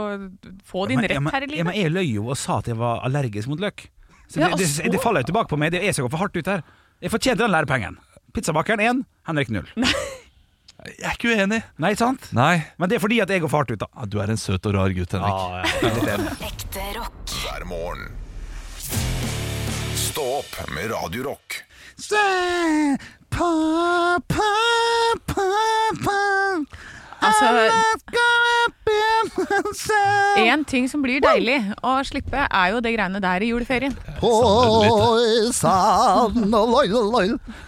D: få din
F: Men- ja,
D: rett
F: men-
D: her i
F: Ja, men
D: livet.
F: jeg løy jo og sa at jeg var allergisk mot løk. Så
D: Ja,
F: det,
D: og
F: det,
D: så-
F: det faller jo tilbake på meg. Det er jeg som går for hardt ut her. Jeg fortjente den lærepengen. Pizzabakeren 1, Henrik 0.
C: Jeg er ikke uenig.
F: Nei, sant?
C: Nei,
F: Men det er fordi at jeg går for hardt ut, da.
C: Ja, du er en søt og rar gutt,
F: Ah,
C: Henrik.
E: Ekte rock.
A: hver morgen. Stå opp med Radio Rock.
F: Stø- Pa, pa, pa, pa.
D: Altså,
F: Let's go up in the sun.
D: en ting som blir deilig å slippe, er jo det greiene der i juleferien.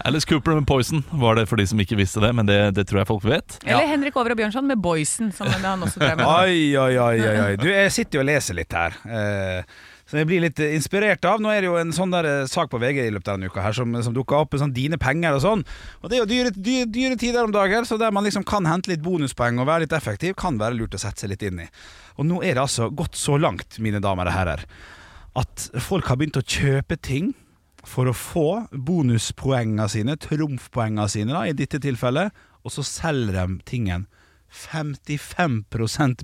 C: Alice Cooper med Poison var det for de som ikke visste det, men det, det tror jeg folk vet.
D: Eller Henrik Over og Bjørnson med Boysen, som han også drev med.
F: Oi, oi, oi, oi, oi. Du, jeg sitter jo og leser litt her. Eh, som jeg blir litt eh, inspirert av. Nå er det jo en sånn der eh, sak på VG i løpet av denne uka her som, som dukka opp. en Sånn dine penger og sånn. Og det er jo dyre, dyre, dyre tider om dagen, så der man liksom kan hente litt bonuspoeng og være litt effektiv, kan være lurt å sette seg litt inn i. Og nå er det altså gått så langt, mine damer og herrer, at folk har begynt å kjøpe ting for å få bonuspoengene sine, trumfpoengene sine da, i dette tilfellet, og så selger de tingen 55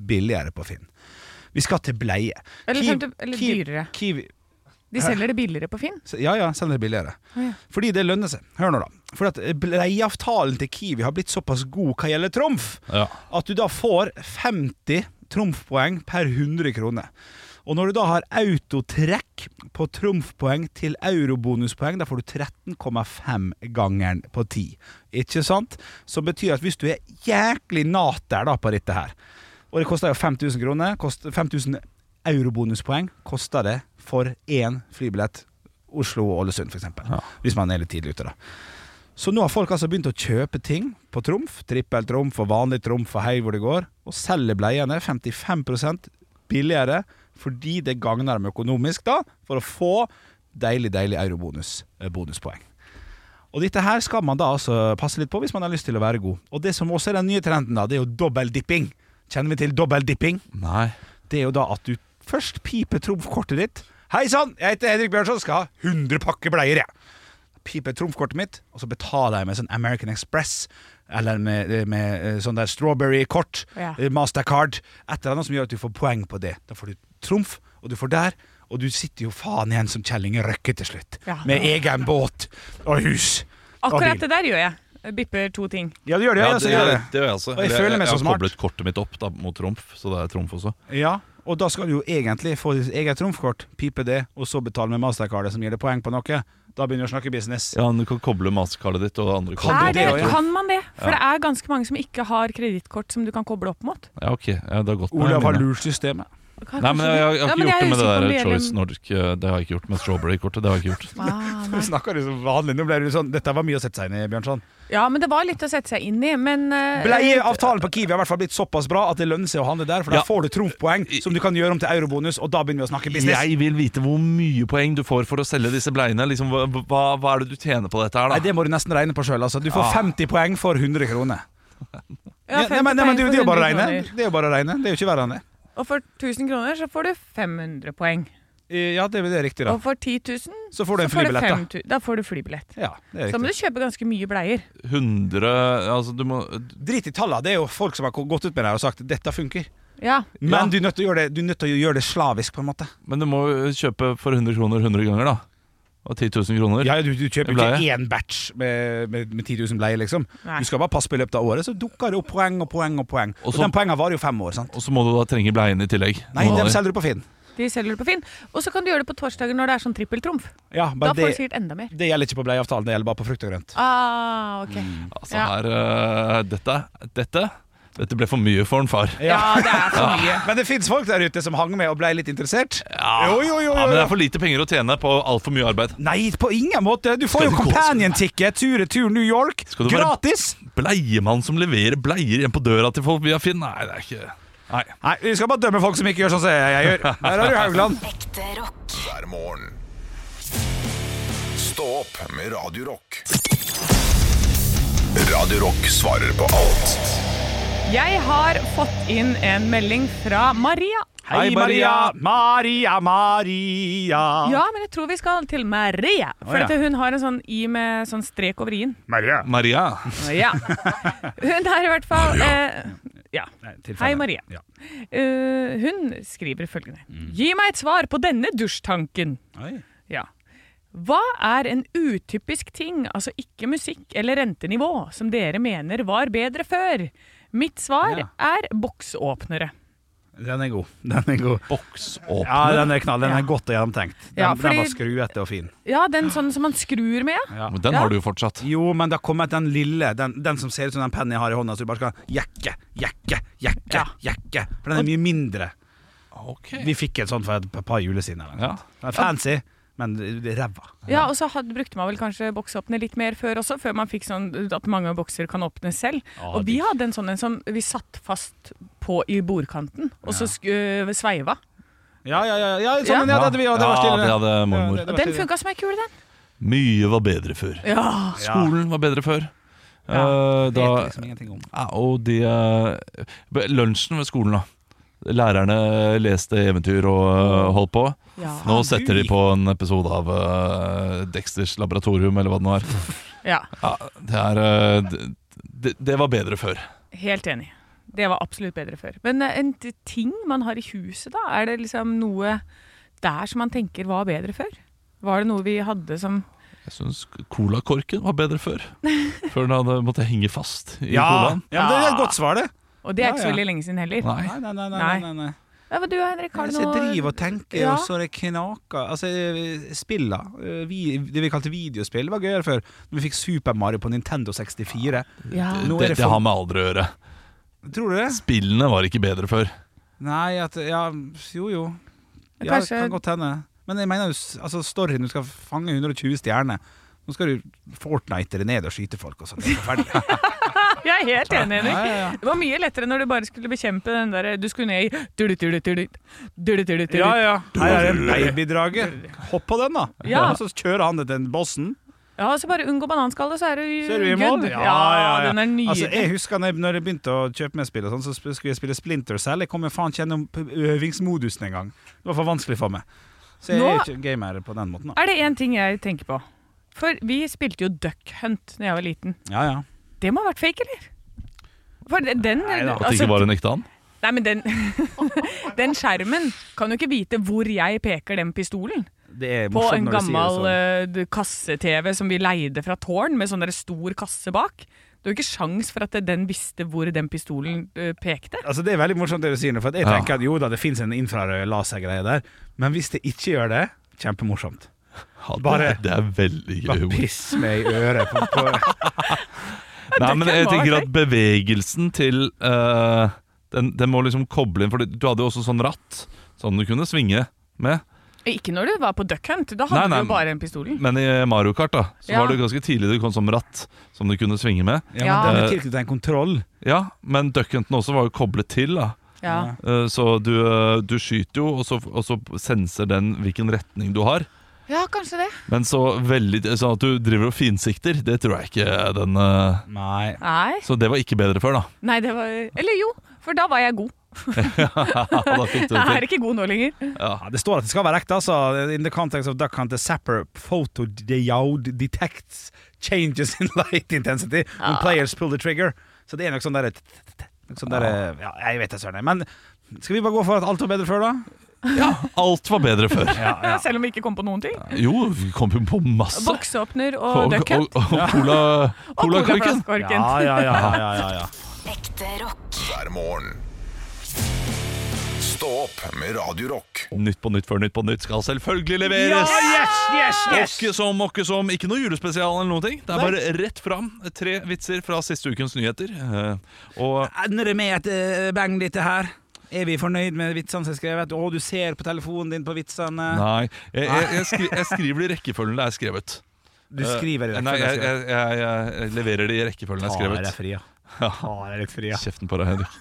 F: billigere på Finn. Vi skal til bleie.
D: Eller
F: Kiwi-
D: 50 eller
F: Kiwi-
D: dyrere.
F: Kiwi,
D: De selger det billigere på Finn.
F: ja, ja, selger det billigere.
D: ja.
F: Fordi det lønner seg. Hør nå, da. Fordi at bleieavtalen til Kiwi har blitt såpass god hva gjelder trumf,
C: Ja.
F: at du da får 50 trumfpoeng per 100 kroner. Og når du da har autotrekk på trumfpoeng til eurobonuspoeng, da får du 13,5 gangeren på 10. Ikke sant? Som betyr at hvis du er jæklig nater da på dette her, og det koster jo 5000 kroner, kost- 5000 eurobonuspoeng koster det for én flybillett Oslo-Ålesund f.eks. eksempel Hvis man er litt tidlig ute, da. Så nå har folk altså begynt å kjøpe ting på trumf, trippeltrumf og vanlig trumf og hei hvor det går, og selger bleiene 55 billigere fordi det gagner dem økonomisk da, for å få deilig, deilig eurobonus, eh, bonuspoeng. Og dette her skal man da altså passe litt på hvis man har lyst til å være god. Og det som også er den nye trenden da, det er jo dobbeldipping. Kjenner vi til dobbeldipping?
C: Nei.
F: det er jo da at du først piper trumfkortet ditt. Hei sann, jeg heter Henrik Bjørnson, skal ha 100 pakker bleier, jeg. Piper trumfkortet mitt, og så betaler jeg med sånn American Express. Eller med, med eh, sånn der strawberry-kort,
D: Ja.
F: eh, mastercard. Et eller annet som gjør at du får poeng på det. Da får du trumf, og du får der. Og du sitter jo faen igjen som Kjell Inge Røkke til slutt.
D: Ja.
F: Med egen båt og hus.
D: Akkurat
F: bil.
D: det der gjør jeg. Bipper to ting.
F: Ja, du gjør det, ja. så gjør det.
C: gjør altså. jeg også.
F: Og jeg føler meg så
C: har
F: smart.
C: koblet kortet mitt opp da, mot trumf, så det er trumf også.
F: Ja, og da skal du jo egentlig få ditt eget trumfkort, pipe det, og så betale med mastercardet som gir deg poeng på noe. Da begynner du å snakke business.
C: Ja, Du kan koble mastercardet ditt og andre
F: Kan
D: Er
F: du
C: kort.
D: det,
F: det også, ja?
D: kan man det? For det er ganske mange som ikke har kredittkort som du kan koble opp mot.
C: Ja, ok. Ja, det er godt.
F: Olav har
C: Nei,
F: lurt systemet.
D: Kanskje
C: Nei, men jeg, jeg,
D: det- Ja,
C: har
D: men
C: ikke gjort
D: jeg
C: det
D: er
C: med det
D: usikker på om
C: der
D: gjelder-
C: Choice Nordic. eh, Det har jeg ikke gjort med strawberry-kortet. Det har jeg ikke gjort.
D: Ah,
F: Du
D: nei.
F: snakker jo som vanlig. Nå ble du sånn Dette var mye å sette seg inn i, Bjørnson.
D: Ja, men det var litt å sette seg inn i, men eh,
F: Bleieavtalen på Kiwi har i hvert fall blitt såpass bra at det lønner seg å handle der, for
C: Ja.
F: da får du trumfpoeng som du kan gjøre om til eurobonus, og da begynner vi å snakke business.
C: Jeg vil vite hvor mye poeng du får for å selge disse bleiene. Liksom, hva, hva, hva er det du tjener på dette her, da?
F: Nei, det må du nesten regne på sjøl, altså. Du får 50 poeng for 100 kroner.
D: ja,
F: Ja, nei, men, nei, men
D: 50
F: det, det er jo bare å
D: poeng for
F: regne.
D: 100 kroner.
F: Det er jo bare å regne. Det er jo ikke verre enn det.
D: Og for 1000 kroner så får du 500 poeng.
F: Eh, Ja, det, det er riktig, da.
D: Og for 10 000
F: Så får du en
D: så får du
F: flybillett, da.
D: 5000 da får du flybillett.
F: Ja, det er
D: Så må
F: riktig.
D: du kjøpe ganske mye bleier.
C: 100 Altså, du må
F: Drit i tallene. Det er jo folk som har gått ut med det og sagt 'dette funker'.
D: Ja.
F: Men
C: Ja.
F: du er nødt til å gjøre det, du er nødt til å gjøre det slavisk, på en måte.
C: Men du må jo kjøpe for 100 kroner 100 ganger, da. Og 10 000 kroner.
F: Ja, du, du kjøper jo
C: Bleie.
F: ikke én batch med, med, med 10 000 bleier, liksom.
D: Nei.
F: Du skal bare passe på i løpet av året, så dukker det opp poeng og poeng. Og poeng
C: Og
F: Og,
C: så-
F: den poengen varer jo fem år, sant?
C: Og så må du da trenge bleien i tillegg.
F: Nei,
C: Nå- altså,
F: den selger du på Finn.
D: De selger det på Finn. Og så kan du gjøre det på torsdager når det er sånn trippeltrumf.
F: Ja,
D: Da
F: men
D: får
F: det,
D: du sikkert enda mer.
F: det gjelder ikke på bleieavtalen, det gjelder bare på frukt og grønt.
D: Ah, ok.
F: Mm.
C: altså,
D: Ja.
C: her, eh, dette, dette Dette ble for mye for en far.
F: Eh,
D: Ja, det er for mye.
F: Men det fins folk der ute som hang med og ble litt interessert.
C: Ja.
F: Jo, jo, jo,
C: Ja, men
F: jo,
C: det
F: jo.
C: er for lite penger å tjene på altfor mye arbeid.
F: Nei, på ingen måte. Du får
C: Skal
F: jo
C: du gå-
F: companion ticket tur-retur New York.
C: Skal du være-
F: Gratis!
C: Bleiemann som leverer bleier hjem på døra til folk via Finn? Nei, det er ikke Nei.
F: Nei, vi skal bare dømme folk som ikke gjør sånn som jeg jeg gjør. Her er du, Haugland.
E: Ekte rock.
A: hver morgen. Stå opp med Radio Rock. Radio Rock svarer på alt
D: Jeg har fått inn en melding fra Maria.
F: Hei, Maria. Maria, Maria.
D: Ja, men jeg tror vi skal til Maria. For
F: ja.
D: at hun har en sånn i med sånn strek over i-en.
F: Maria.
C: Maria.
D: Ja. Hun er i hvert fall eh, Ja. Hei, Maria.
F: Ja.
D: Eh, hun skriver følgende. Gi meg et svar på denne dusjtanken.
F: Oi.
D: Ja. Hva er en utypisk ting, altså ikke musikk eller rentenivå, som dere mener var bedre før? Mitt svar
F: Ja.
D: er boksåpnere.
F: Den er god. Den er god.
C: Boksåpner.
F: Ja, den er knall. Den er
D: Ja.
F: godt og gjennomtenkt. Den,
D: Ja, fordi-
F: den var skruete og fin.
D: Ja, den sånn som man skrur med, ja.
C: Men den
D: Ja.
C: har du jo fortsatt.
F: Jo, men det har kommet den lille, den, den som ser ut som den pennen jeg har i hånda, så du bare skal jekke, jekke, jekke,
D: Ja.
F: jekke. For den er mye mindre.
C: Ok
F: Vi fikk en sånn for et par juler siden. eller noe
C: Ja.
F: sånt. Den er fancy, men det er ræva.
D: Ja, og så hadde, brukte man vel kanskje boksåpne litt mer før også, før man fikk sånn at mange bokser kan åpne selv. og vi hadde en sånn en som vi satt fast på i bordkanten, og så sk- øh, sveiva.
F: Ja, ja, ja. ja
D: Ja.
F: sånn, ja. det hadde vi, og det var
C: Ja,
F: stille.
C: det hadde mormor.
F: Ja, det- det var
D: Den
F: stille.
D: funka som ei kule, den.
C: Mye var bedre før.
D: Ja.
C: Skolen var bedre før. Eh,
F: Det
C: da,
F: vet jeg liksom ingenting om.
C: ja, og de eh, b- Lunsjen ved skolen, da. Lærerne leste eventyr og eh, holdt på.
D: Ja.
C: Nå
F: Faen,
C: setter
F: du
C: de på en episode av eh, Dexters laboratorium, eller hva det nå er.
D: ja.
C: Ja, det, er eh, d- det, det var bedre før.
D: Helt enig. Det var absolutt bedre før. Men eh, en t- ting man har i huset, da? Er det liksom noe der som man tenker var bedre før? Var det noe vi hadde som
C: Jeg syns colakorken var bedre før. Før den hadde måttet henge fast i
F: Ja,
C: colaen.
F: ja, men det er et godt svar, det.
D: Og det er ikke
F: Ja,
D: så
F: ja.
D: veldig lenge siden heller.
C: Nei.
F: Nei, nei, nei. nei,
D: Nei.
F: nei, nei.
D: Ja, men du, Henrik, har du
F: Altså,
D: noe
F: Jeg driver og tenker,
D: Ja.
F: og så er det knaker Altså, eh, spilla eh, vi, Det vi kalte videospill, var gøyere før. Når vi fikk Super Mario på Nintendo 64.
D: Ja.
F: Nå
C: Det,
F: er det
C: det
F: for-
C: har med alder å gjøre.
F: Tror du det?
C: Spillene var ikke bedre før.
F: Nei, at Ja, jo jo. Ja, det
D: Kanskje-
F: kan godt hende. Men jeg mener jo s- altså, storyen Du skal fange 120 stjerner. Nå skal du fortnitere ned og skyte folk og sånn. Det er forferdelig.
D: Jeg er helt enig, Henrik.
F: Ja, ja, ja.
D: Det var mye lettere når du bare skulle bekjempe den derre Du skulle ned i dulut-dulut-dulut. Dulut-dulut-dulut.
F: ja. Her er en babydrage. Hopp på den, da.
D: Ja.
F: Og Så kjører han til bossen.
D: Ja, og så bare unngå bananskallet, så er du
F: Så er du i
D: good.
F: mål.
D: Ja, den er nydelig.
F: Altså, jeg husker når jeg, når jeg begynte å kjøpe meg spill, og sånn, så sp- skulle jeg spille Splinter Cell. Jeg kom jo faen ikke gjennom p- øvingsmodusen engang. Det var for vanskelig for meg. Så jeg
D: Nå-
F: er ikke gamer på den måten. Da.
D: Er det én ting jeg tenker på? For vi spilte jo Duck Hunt da jeg var liten.
F: Ja, ja.
D: Det må ha vært fake, eller? For den, den
F: da.
C: At det
D: Altså,
C: ikke var en ekte and.
D: Nei, men den, den skjermen kan jo ikke vite hvor jeg peker den pistolen.
F: Det er
D: På
F: morsomt når
D: en
F: du sier det
D: gammel
F: sånn.
D: eh, d- kasse-TV som vi leide fra tårn, med sånn der stor kasse bak. Det var jo ikke sjans for at den visste hvor den pistolen eh, pekte.
F: Altså Det er veldig morsomt det du sier nå, for at jeg
C: Ja.
F: tenker at jo da, det fins en infrarød lasergreie der, men hvis det ikke gjør det, kjempemorsomt.
C: Ja, det-
F: Bare-
C: det er veldig gøy
F: Bare
C: humor.
F: piss meg i øret. På, på.
C: Nei,
D: Det
C: men
D: kan
C: jeg
D: være
C: tenker
D: gøy.
C: at bevegelsen til eh, den, den må liksom koble inn For du hadde jo også sånn ratt som du kunne svinge med.
D: Ikke når du var på Duck Hunt, da
C: Nei,
D: hadde
C: nei, Mm.
D: du jo bare den pistolen.
C: Men i Mario Kart da Så
D: Ja.
C: var det ganske tidlig det kom som ratt som du kunne svinge med.
F: Ja, men
D: Ja.
F: Den er tilknyttet en kontroll.
C: Ja, men Duck Hunten også var jo koblet til. da
D: Ja.
C: Eh, Så du, eh, du skyter jo, og så, og så senser den hvilken retning du har.
D: ja, kanskje det.
C: Men så veldig sånn at du driver og finsikter, det tror jeg ikke er den eh,
F: Nei.
D: Nei.
C: Så det var ikke bedre før, da.
D: Nei, det var Eller jo, for da var jeg god.
C: da fikk du det
D: Jeg
C: til.
D: er ikke god nå lenger.
F: Ja, det står at det skal være ekte, altså. In the context of duck hunt, the sapper photo diode detects changes in light intensity when players pull the trigger. Så det er nok sånn derre sånn der, ja, Jeg vet det, søren. jeg. Men skal vi bare gå for at alt var bedre før, da?
C: Ja, alt var bedre før.
D: Selv om vi ikke kom på noen ting.
C: Jo, vi kom jo på masse.
D: Boksåpner
C: Og,
D: og
C: og,
D: duckhunt.
C: og, og cola-
D: Og
C: colakorken.
D: colaflaskeorken.
F: ja, ja, ja, ja, ja.
E: Ekte rock.
A: hver morgen. Stå opp med Radio Rock.
C: Nytt på nytt før Nytt på nytt skal selvfølgelig
F: Ja,
C: leveres.
F: yes, yes, yes!
C: Åkke som, åkke som. Ikke noe julespesial eller noen ting. Det er bare rett fram. Tre vitser fra siste ukens nyheter. Eh, Og
F: Ender det med et eh, bang, dette her? Er vi fornøyd med vitsene som er skrevet? Å, du ser på telefonen din på vitsene.
C: Nei, jeg, jeg, jeg, skri, jeg skriver det i rekkefølgen det er skrevet.
F: Du skriver i
C: Eh,
F: det.
C: Nei, jeg, jeg, jeg, jeg leverer det i rekkefølgen det er
F: Ta deg
C: skrevet.
F: fri, ja. Ta deg litt fri, ja.
C: Kjeften på deg, Henrik.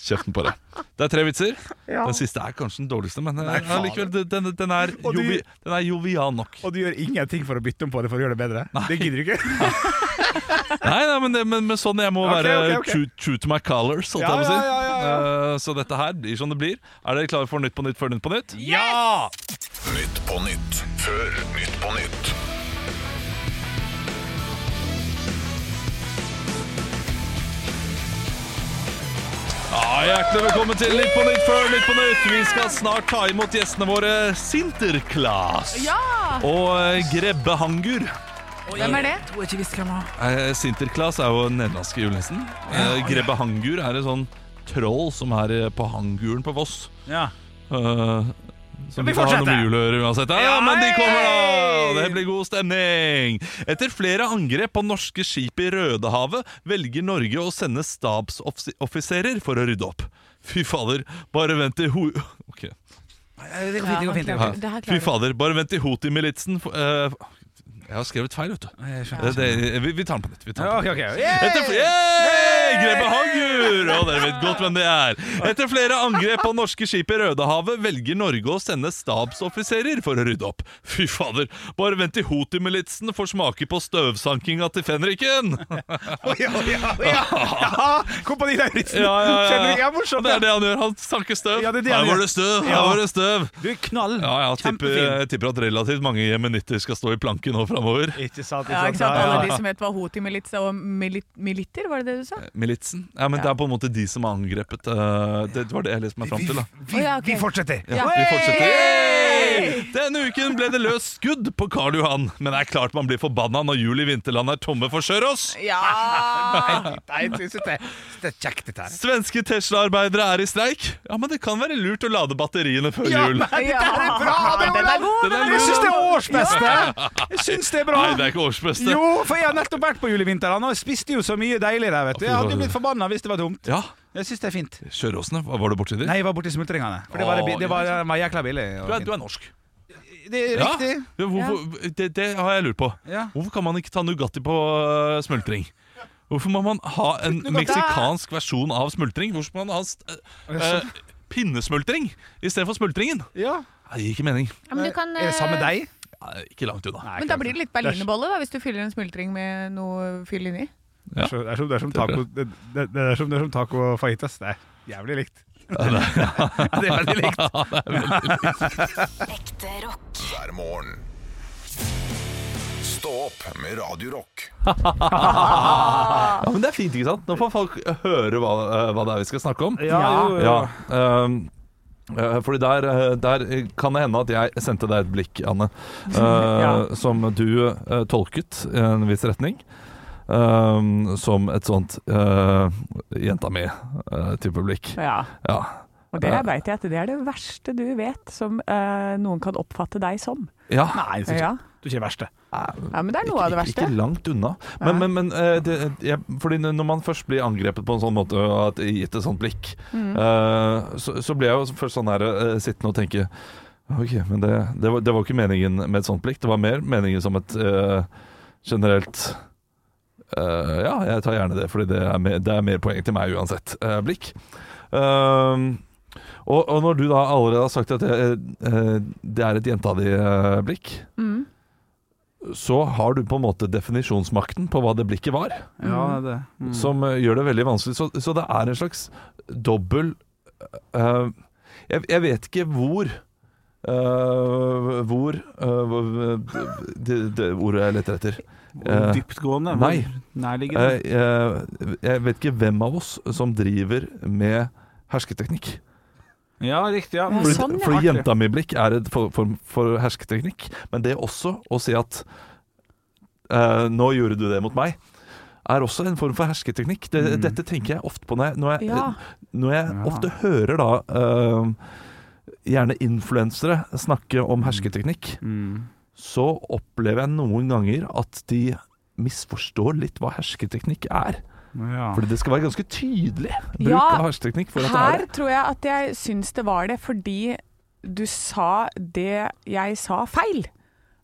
C: Kjeften på deg. Det er tre vitser. Den siste er kanskje den dårligste, men eh,
F: faen.
C: allikevel, den, den, er
F: Og du-
C: jovi, den er jovial nok.
F: Og du gjør ingenting for å bytte om på det for å gjøre det bedre? Det gidder du ikke?
C: Nei, nei men, det- men, men sånn jeg må
F: Ok,
C: være
F: ok, ok.
C: True, true to my colors, holdt
F: Ja,
C: jeg på å si.
F: ja, ja,
C: Eh, så dette her blir som det blir. Er dere klare for Nytt på nytt før Nytt på nytt?
F: Ja!
A: Nytt på nytt før Nytt på nytt.
C: Ja, Hjertelig velkommen til Nytt på nytt før Nytt på nytt. Vi skal snart ta imot gjestene våre Sinterklas
D: Ja!
C: og eh, Grebbe Hangur.
D: Hvem er det?
C: Eh, Sinterklas er jo den nederlandske julenissen. Eh, Grebbe Hangur er et sånn troll som er eh, på Hanguren på Voss.
F: Ja.
C: Eh, som
F: Vi
C: ikke har noe
F: fortsetter.
C: med jul å gjøre uansett. Ja, men de kommer, da! Det blir god stemning. Etter flere angrep på norske skip i Rødehavet velger Norge å sende stabsoffiserer for å rydde opp. Fy fader, bare vent til ho... Ok.
F: Eh, Det går fint. det går fint, det går
C: Ja.
F: fint.
D: Det her
C: Fy
D: klarer vi.
C: fader, bare vent til Houthi-militsen f- eh, Jeg har skrevet feil, vet du.
F: Jeg skjønner.
C: Det, det, vi, vi tar den på nytt. Vi tar den på nytt.
F: Ok, ok. Yeah!
C: Etter fl- Yay! Grebe Hagur! Og dere vet godt hvem det er. Etter flere angrep på norske skip i Rødehavet velger Norge å sende stabsoffiserer for å rydde opp. Fy fader, bare vent til Houthi-militsen får smake på støvsankinga til fenriken!
F: Oi, oi, oi, ja. ja. Kompani Lauritzen!
C: Ja, ja, ja,
F: Skjønner du?
C: ja.
F: Ja, morsomt.
C: Det er det han gjør. Han sanker støv.
F: Ja, det er det han
C: Her var
F: gjør.
C: det støv! Her
F: Ja.
C: var det støv!
F: Du er knall.
C: Ja, ja, tipper,
F: Kjempefin.
C: jeg tipper at relativt mange jemenitter skal stå i planken nå framover.
F: Ikke sant?
D: Ja, ikke sant? Alle de som het var Houthi-milits og mili- militer, var det det du sa?
C: Militsen? Ja, men det er på en måte de som er angrepet. eh, Det var det jeg leste meg fram til. da
D: Å, ja, ok.
F: Vi fortsetter.
C: Ja, vi fortsetter. Yay! Denne uken ble det løst skudd på Karl Johan. Men det er klart man blir forbanna når jul i vinterland er tomme for Sørås.
D: Ja!
F: Nei, jeg synes det, det er kjekt, dette her.
C: Svenske Tesla-arbeidere er i streik. Ja, Men det kan være lurt å lade batteriene før jul.
F: nei, dette her er bra! Det,
D: Den er god!
C: Den er
F: jeg
C: lurt.
F: syns det er årsbeste! Jeg syns det er bra.
C: Nei, det er ikke årsbeste.
F: Jo, for jeg har nettopp vært på julevinterland og jeg spiste jo så mye deilig der, vet du. Jeg hadde jo blitt forbanna hvis det var tomt.
C: Ja,
F: Jeg syns det er fint.
C: Søråsene, hva var det borti der?
F: Nei, jeg var borti smultringene. For det var, det, det var, det var jækla billig. og
C: Du er,
F: fint.
C: du er norsk.
F: Det er
C: Ja,
F: riktig.
C: men hvorfor, det, det har jeg lurt på.
F: Ja.
C: Hvorfor kan man ikke ta Nugatti på øh, smultring? Hvorfor må man ha en meksikansk versjon av smultring? Hvorfor må man ha st- øh, øh, pinnesmultring istedenfor smultringen?
F: Eh, Ja.
C: Nei, Det gir ikke mening.
D: Ja, men du kan,
F: Er det samme
D: eh,
F: deg?
C: Nei, Ikke langt unna.
D: Men da
F: altså.
D: blir det litt berlinerbolle, da, hvis du fyller en smultring med noe fyll inni.
F: Det er som- det er som- det er som taco det, det, det er som, det er som taco fajitas. Det er jævlig likt. Ja, det er veldig likt.
E: Ekte rock.
A: Hver morgen. Stå opp med Radio Rock.
C: Ja, men Det er fint, ikke sant? Nå får folk høre hva, øh, hva det er vi skal snakke om.
F: Ja, jo, jo.
C: Ja, ehm, eh, fordi der, eh, der kan det hende at jeg sendte deg et blikk, Anne, eh,
D: Ja.
C: som du eh, tolket i en viss retning. ehm, som et sånt eh, jenta mi-type blikk.
H: Ja,
C: Ja.
H: og det veit jeg at det er det verste du vet som eh, noen kan oppfatte deg som.
C: ja.
F: Nei, du er
H: Ja.
F: ikke- du er ikke det verste.
H: ja, men det er noe av det
C: Ikke,
H: verste.
C: ikke langt unna. Men, men, men eh, det, jeg, fordi når man først blir angrepet på en sånn måte og at gitt et sånt blikk,
H: Mm.
C: eh, så, så blir jeg jo først sånn her eh, sittende og tenke Ok, men det, det, var, det var ikke meningen med et sånt blikk. Det var mer meningen som et eh, generelt eh, Ja, jeg tar gjerne det, fordi det er mer, det er mer poeng til meg uansett. eh, blikk. Ehm, og, og når du da allerede har sagt at det, eh, det er et jenta eh, di-blikk, så har du på en måte definisjonsmakten på hva det blikket var,
F: Ja, det.
C: som eh, gjør det veldig vanskelig. Så, så det er en slags dobbel eh, jeg, jeg vet ikke hvor eh, Hvor eh, hvor- det, det ordet jeg leter etter. Eh,
F: Dyptgående? hvor
C: nei. Eh,
F: Nærliggende?
C: jeg, jeg, jeg vet ikke hvem av oss som driver med hersketeknikk.
F: ja, riktig. Ja.
D: Ja,
C: Fordi,
D: sånn, ja.
C: fordi jenta mi blikk er en form for, for hersketeknikk, men det også å si at eh, Nå gjorde du det mot meg. Er også en form for hersketeknikk. Det,
F: Mm.
C: Dette tenker jeg ofte på når jeg, når jeg,
D: Ja.
C: når jeg
F: Ja.
C: ofte hører da eh, gjerne influensere snakke om hersketeknikk,
F: Mm.
C: så opplever jeg noen ganger at de misforstår litt hva hersketeknikk er.
F: Ja.
C: Fordi det skal være ganske tydelig bruk
D: Ja,
C: av hersketeknikk. For at det er
D: Her
C: det.
D: tror jeg at jeg syns det var det, fordi du sa det jeg sa feil.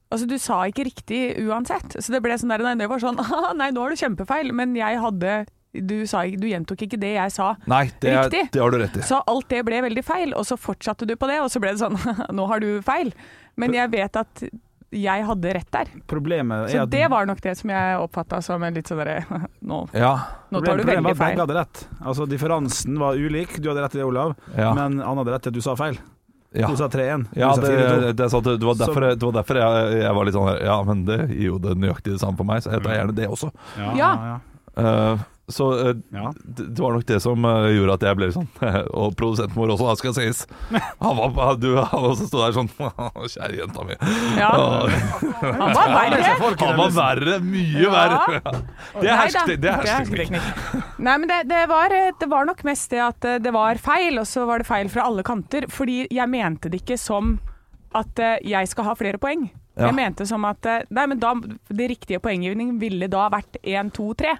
D: Altså, du sa ikke riktig uansett. Så det ble sånn der, nei, det var sånn, «Ah, nei, nå har du kjempefeil, men jeg hadde, du, sa, ikke- du gjentok ikke det jeg sa.
C: Nei, det, er,
D: Riktig.
C: det har du rett i.
D: Så alt det ble veldig feil, og så fortsatte du på det, og så ble det sånn, nå har du feil. Men jeg vet at jeg hadde rett der.
F: Problemet er
D: Så
F: at
D: det var nok det som jeg oppfatta som en litt sånn derre nå,
C: Ja,
D: nå tar du
F: problemet var
D: veldig
F: at
D: feil.
F: Begge hadde rett. Altså, differansen var ulik. Du hadde rett i det, Olav,
C: ja,
F: men han hadde rett i at du sa feil.
C: ja.
F: Du sa 3-1.
C: Ja,
F: du sa
C: det,
F: 4-2.
C: det er sant. Det var
F: Så-
C: derfor, det var derfor jeg, jeg var litt sånn her Ja, men det gir jo det nøyaktig det samme for meg, så jeg tar gjerne det også.
F: Ja,
D: Ja.
C: Eh, så eh,
F: ja.
C: det det var nok det som eh, gjorde at jeg ble litt sånn Og produsenten vår også, han skal sies. Han var du, han også sto der sånn Kjære jenta mi.
D: Ja,
C: Å,
D: han var verre.
C: Han var verre. Mye verre. Det er
D: Nei da,
C: herskete- det er
D: ikke
C: hersketeknikk.
D: hersketeknikk. Nei, men det, det, var, eh, det var nok mest det at eh, det var feil, og så var det feil fra alle kanter. Fordi jeg mente det ikke som at eh, jeg skal ha flere poeng.
C: Ja.
D: Jeg mente som at eh, Nei, men da, det riktige poenggivningen ville da vært 1, 2, 3.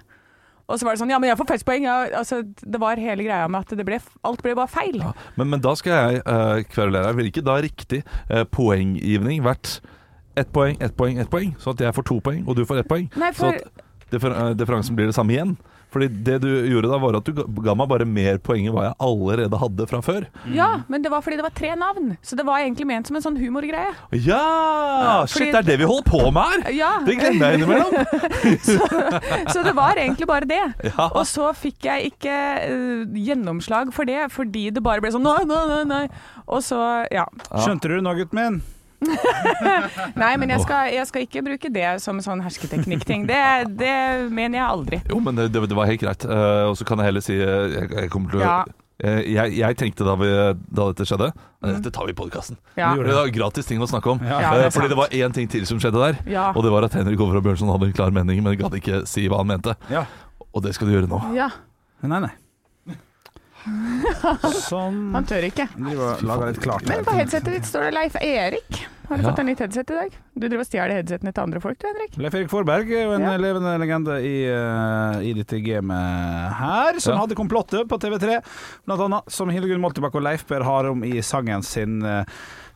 D: Og så var det sånn Ja, men jeg får flest poeng. Ja, altså, det var hele greia med at det ble, alt ble bare feil.
C: Ja, men, men da skal jeg uh, kverulere. Vil ikke da riktig eh, poenggivning vært ett poeng, ett poeng, ett poeng? Så at jeg får to poeng, og du får ett poeng?
D: Nei, for-
C: Så at differ eh, differansen blir det samme igjen? Fordi det du gjorde da, var at du ga ga meg bare mer poeng enn hva jeg allerede hadde fra før.
D: Ja, men det var fordi det var tre navn. Så det var egentlig ment som en sånn humorgreie.
C: Ja!
D: Ja,
C: Shit,
D: fordi-
C: det er det vi holder på med her!
D: Ja.
C: Det glemmer jeg innimellom.
D: Så det var egentlig bare det.
C: Ja.
D: Og så fikk jeg ikke eh, gjennomslag for det, fordi det bare ble sånn nei, nei, nei, nei. Og så, ja.
F: Skjønte du nå, gutten min?
D: Nei, men jeg skal, jeg skal ikke bruke det som en sånn hersketeknikk-ting. Det, det mener jeg aldri.
C: Jo, men det, det var helt greit. Eh, og så kan jeg heller si eh, jeg, jeg kommer til å
D: Ja.
C: Eh, jeg, jeg tenkte da, vi, da dette skjedde eh,
D: Mhm.
C: Dette tar vi i podkasten.
D: Ja.
C: Det var gratis ting å snakke om.
D: Ja, det er
C: Eh, fordi
D: sant.
C: det var én ting til som skjedde der.
D: Ja.
C: Og det var at Henrik Over og Bjørnson hadde en klar mening, men gadd ikke si hva han mente.
F: Ja.
C: Og det skal du gjøre nå.
D: Ja,
F: Nei, nei. Sånn
D: han tør ikke.
F: Driver og lager litt klart
D: Men på headsetet ditt står det Leif Erik. Har du
C: Ja.
D: fått en nytt headset i dag? Du driver og stjeler headsetene til andre folk du, Henrik.
F: Leif Erik Forberg er jo en
D: Ja.
F: levende legende i, eh, i dette gamet her, som
C: Ja.
F: hadde komplottet på TV3, blant annet, som Hildegunn Moltebakk og Leif Per har om i sangen sin eh,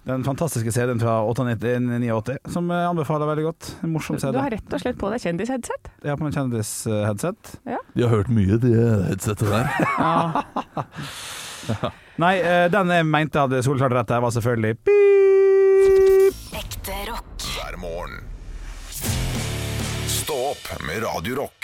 F: den fantastiske CD-en fra 1989, som jeg anbefaler veldig godt. En morsom
D: Du
F: CD.
D: har rett og slett på deg kjendisheadset.
F: Jeg har på meg kjendisheadset.
C: De har hørt mye, de headsetet der.
F: Nei, eh, den jeg mente hadde solklart rett der, var selvfølgelig Pip!
E: Ekte rock.
A: hver morgen. Stå opp med Radio Rock.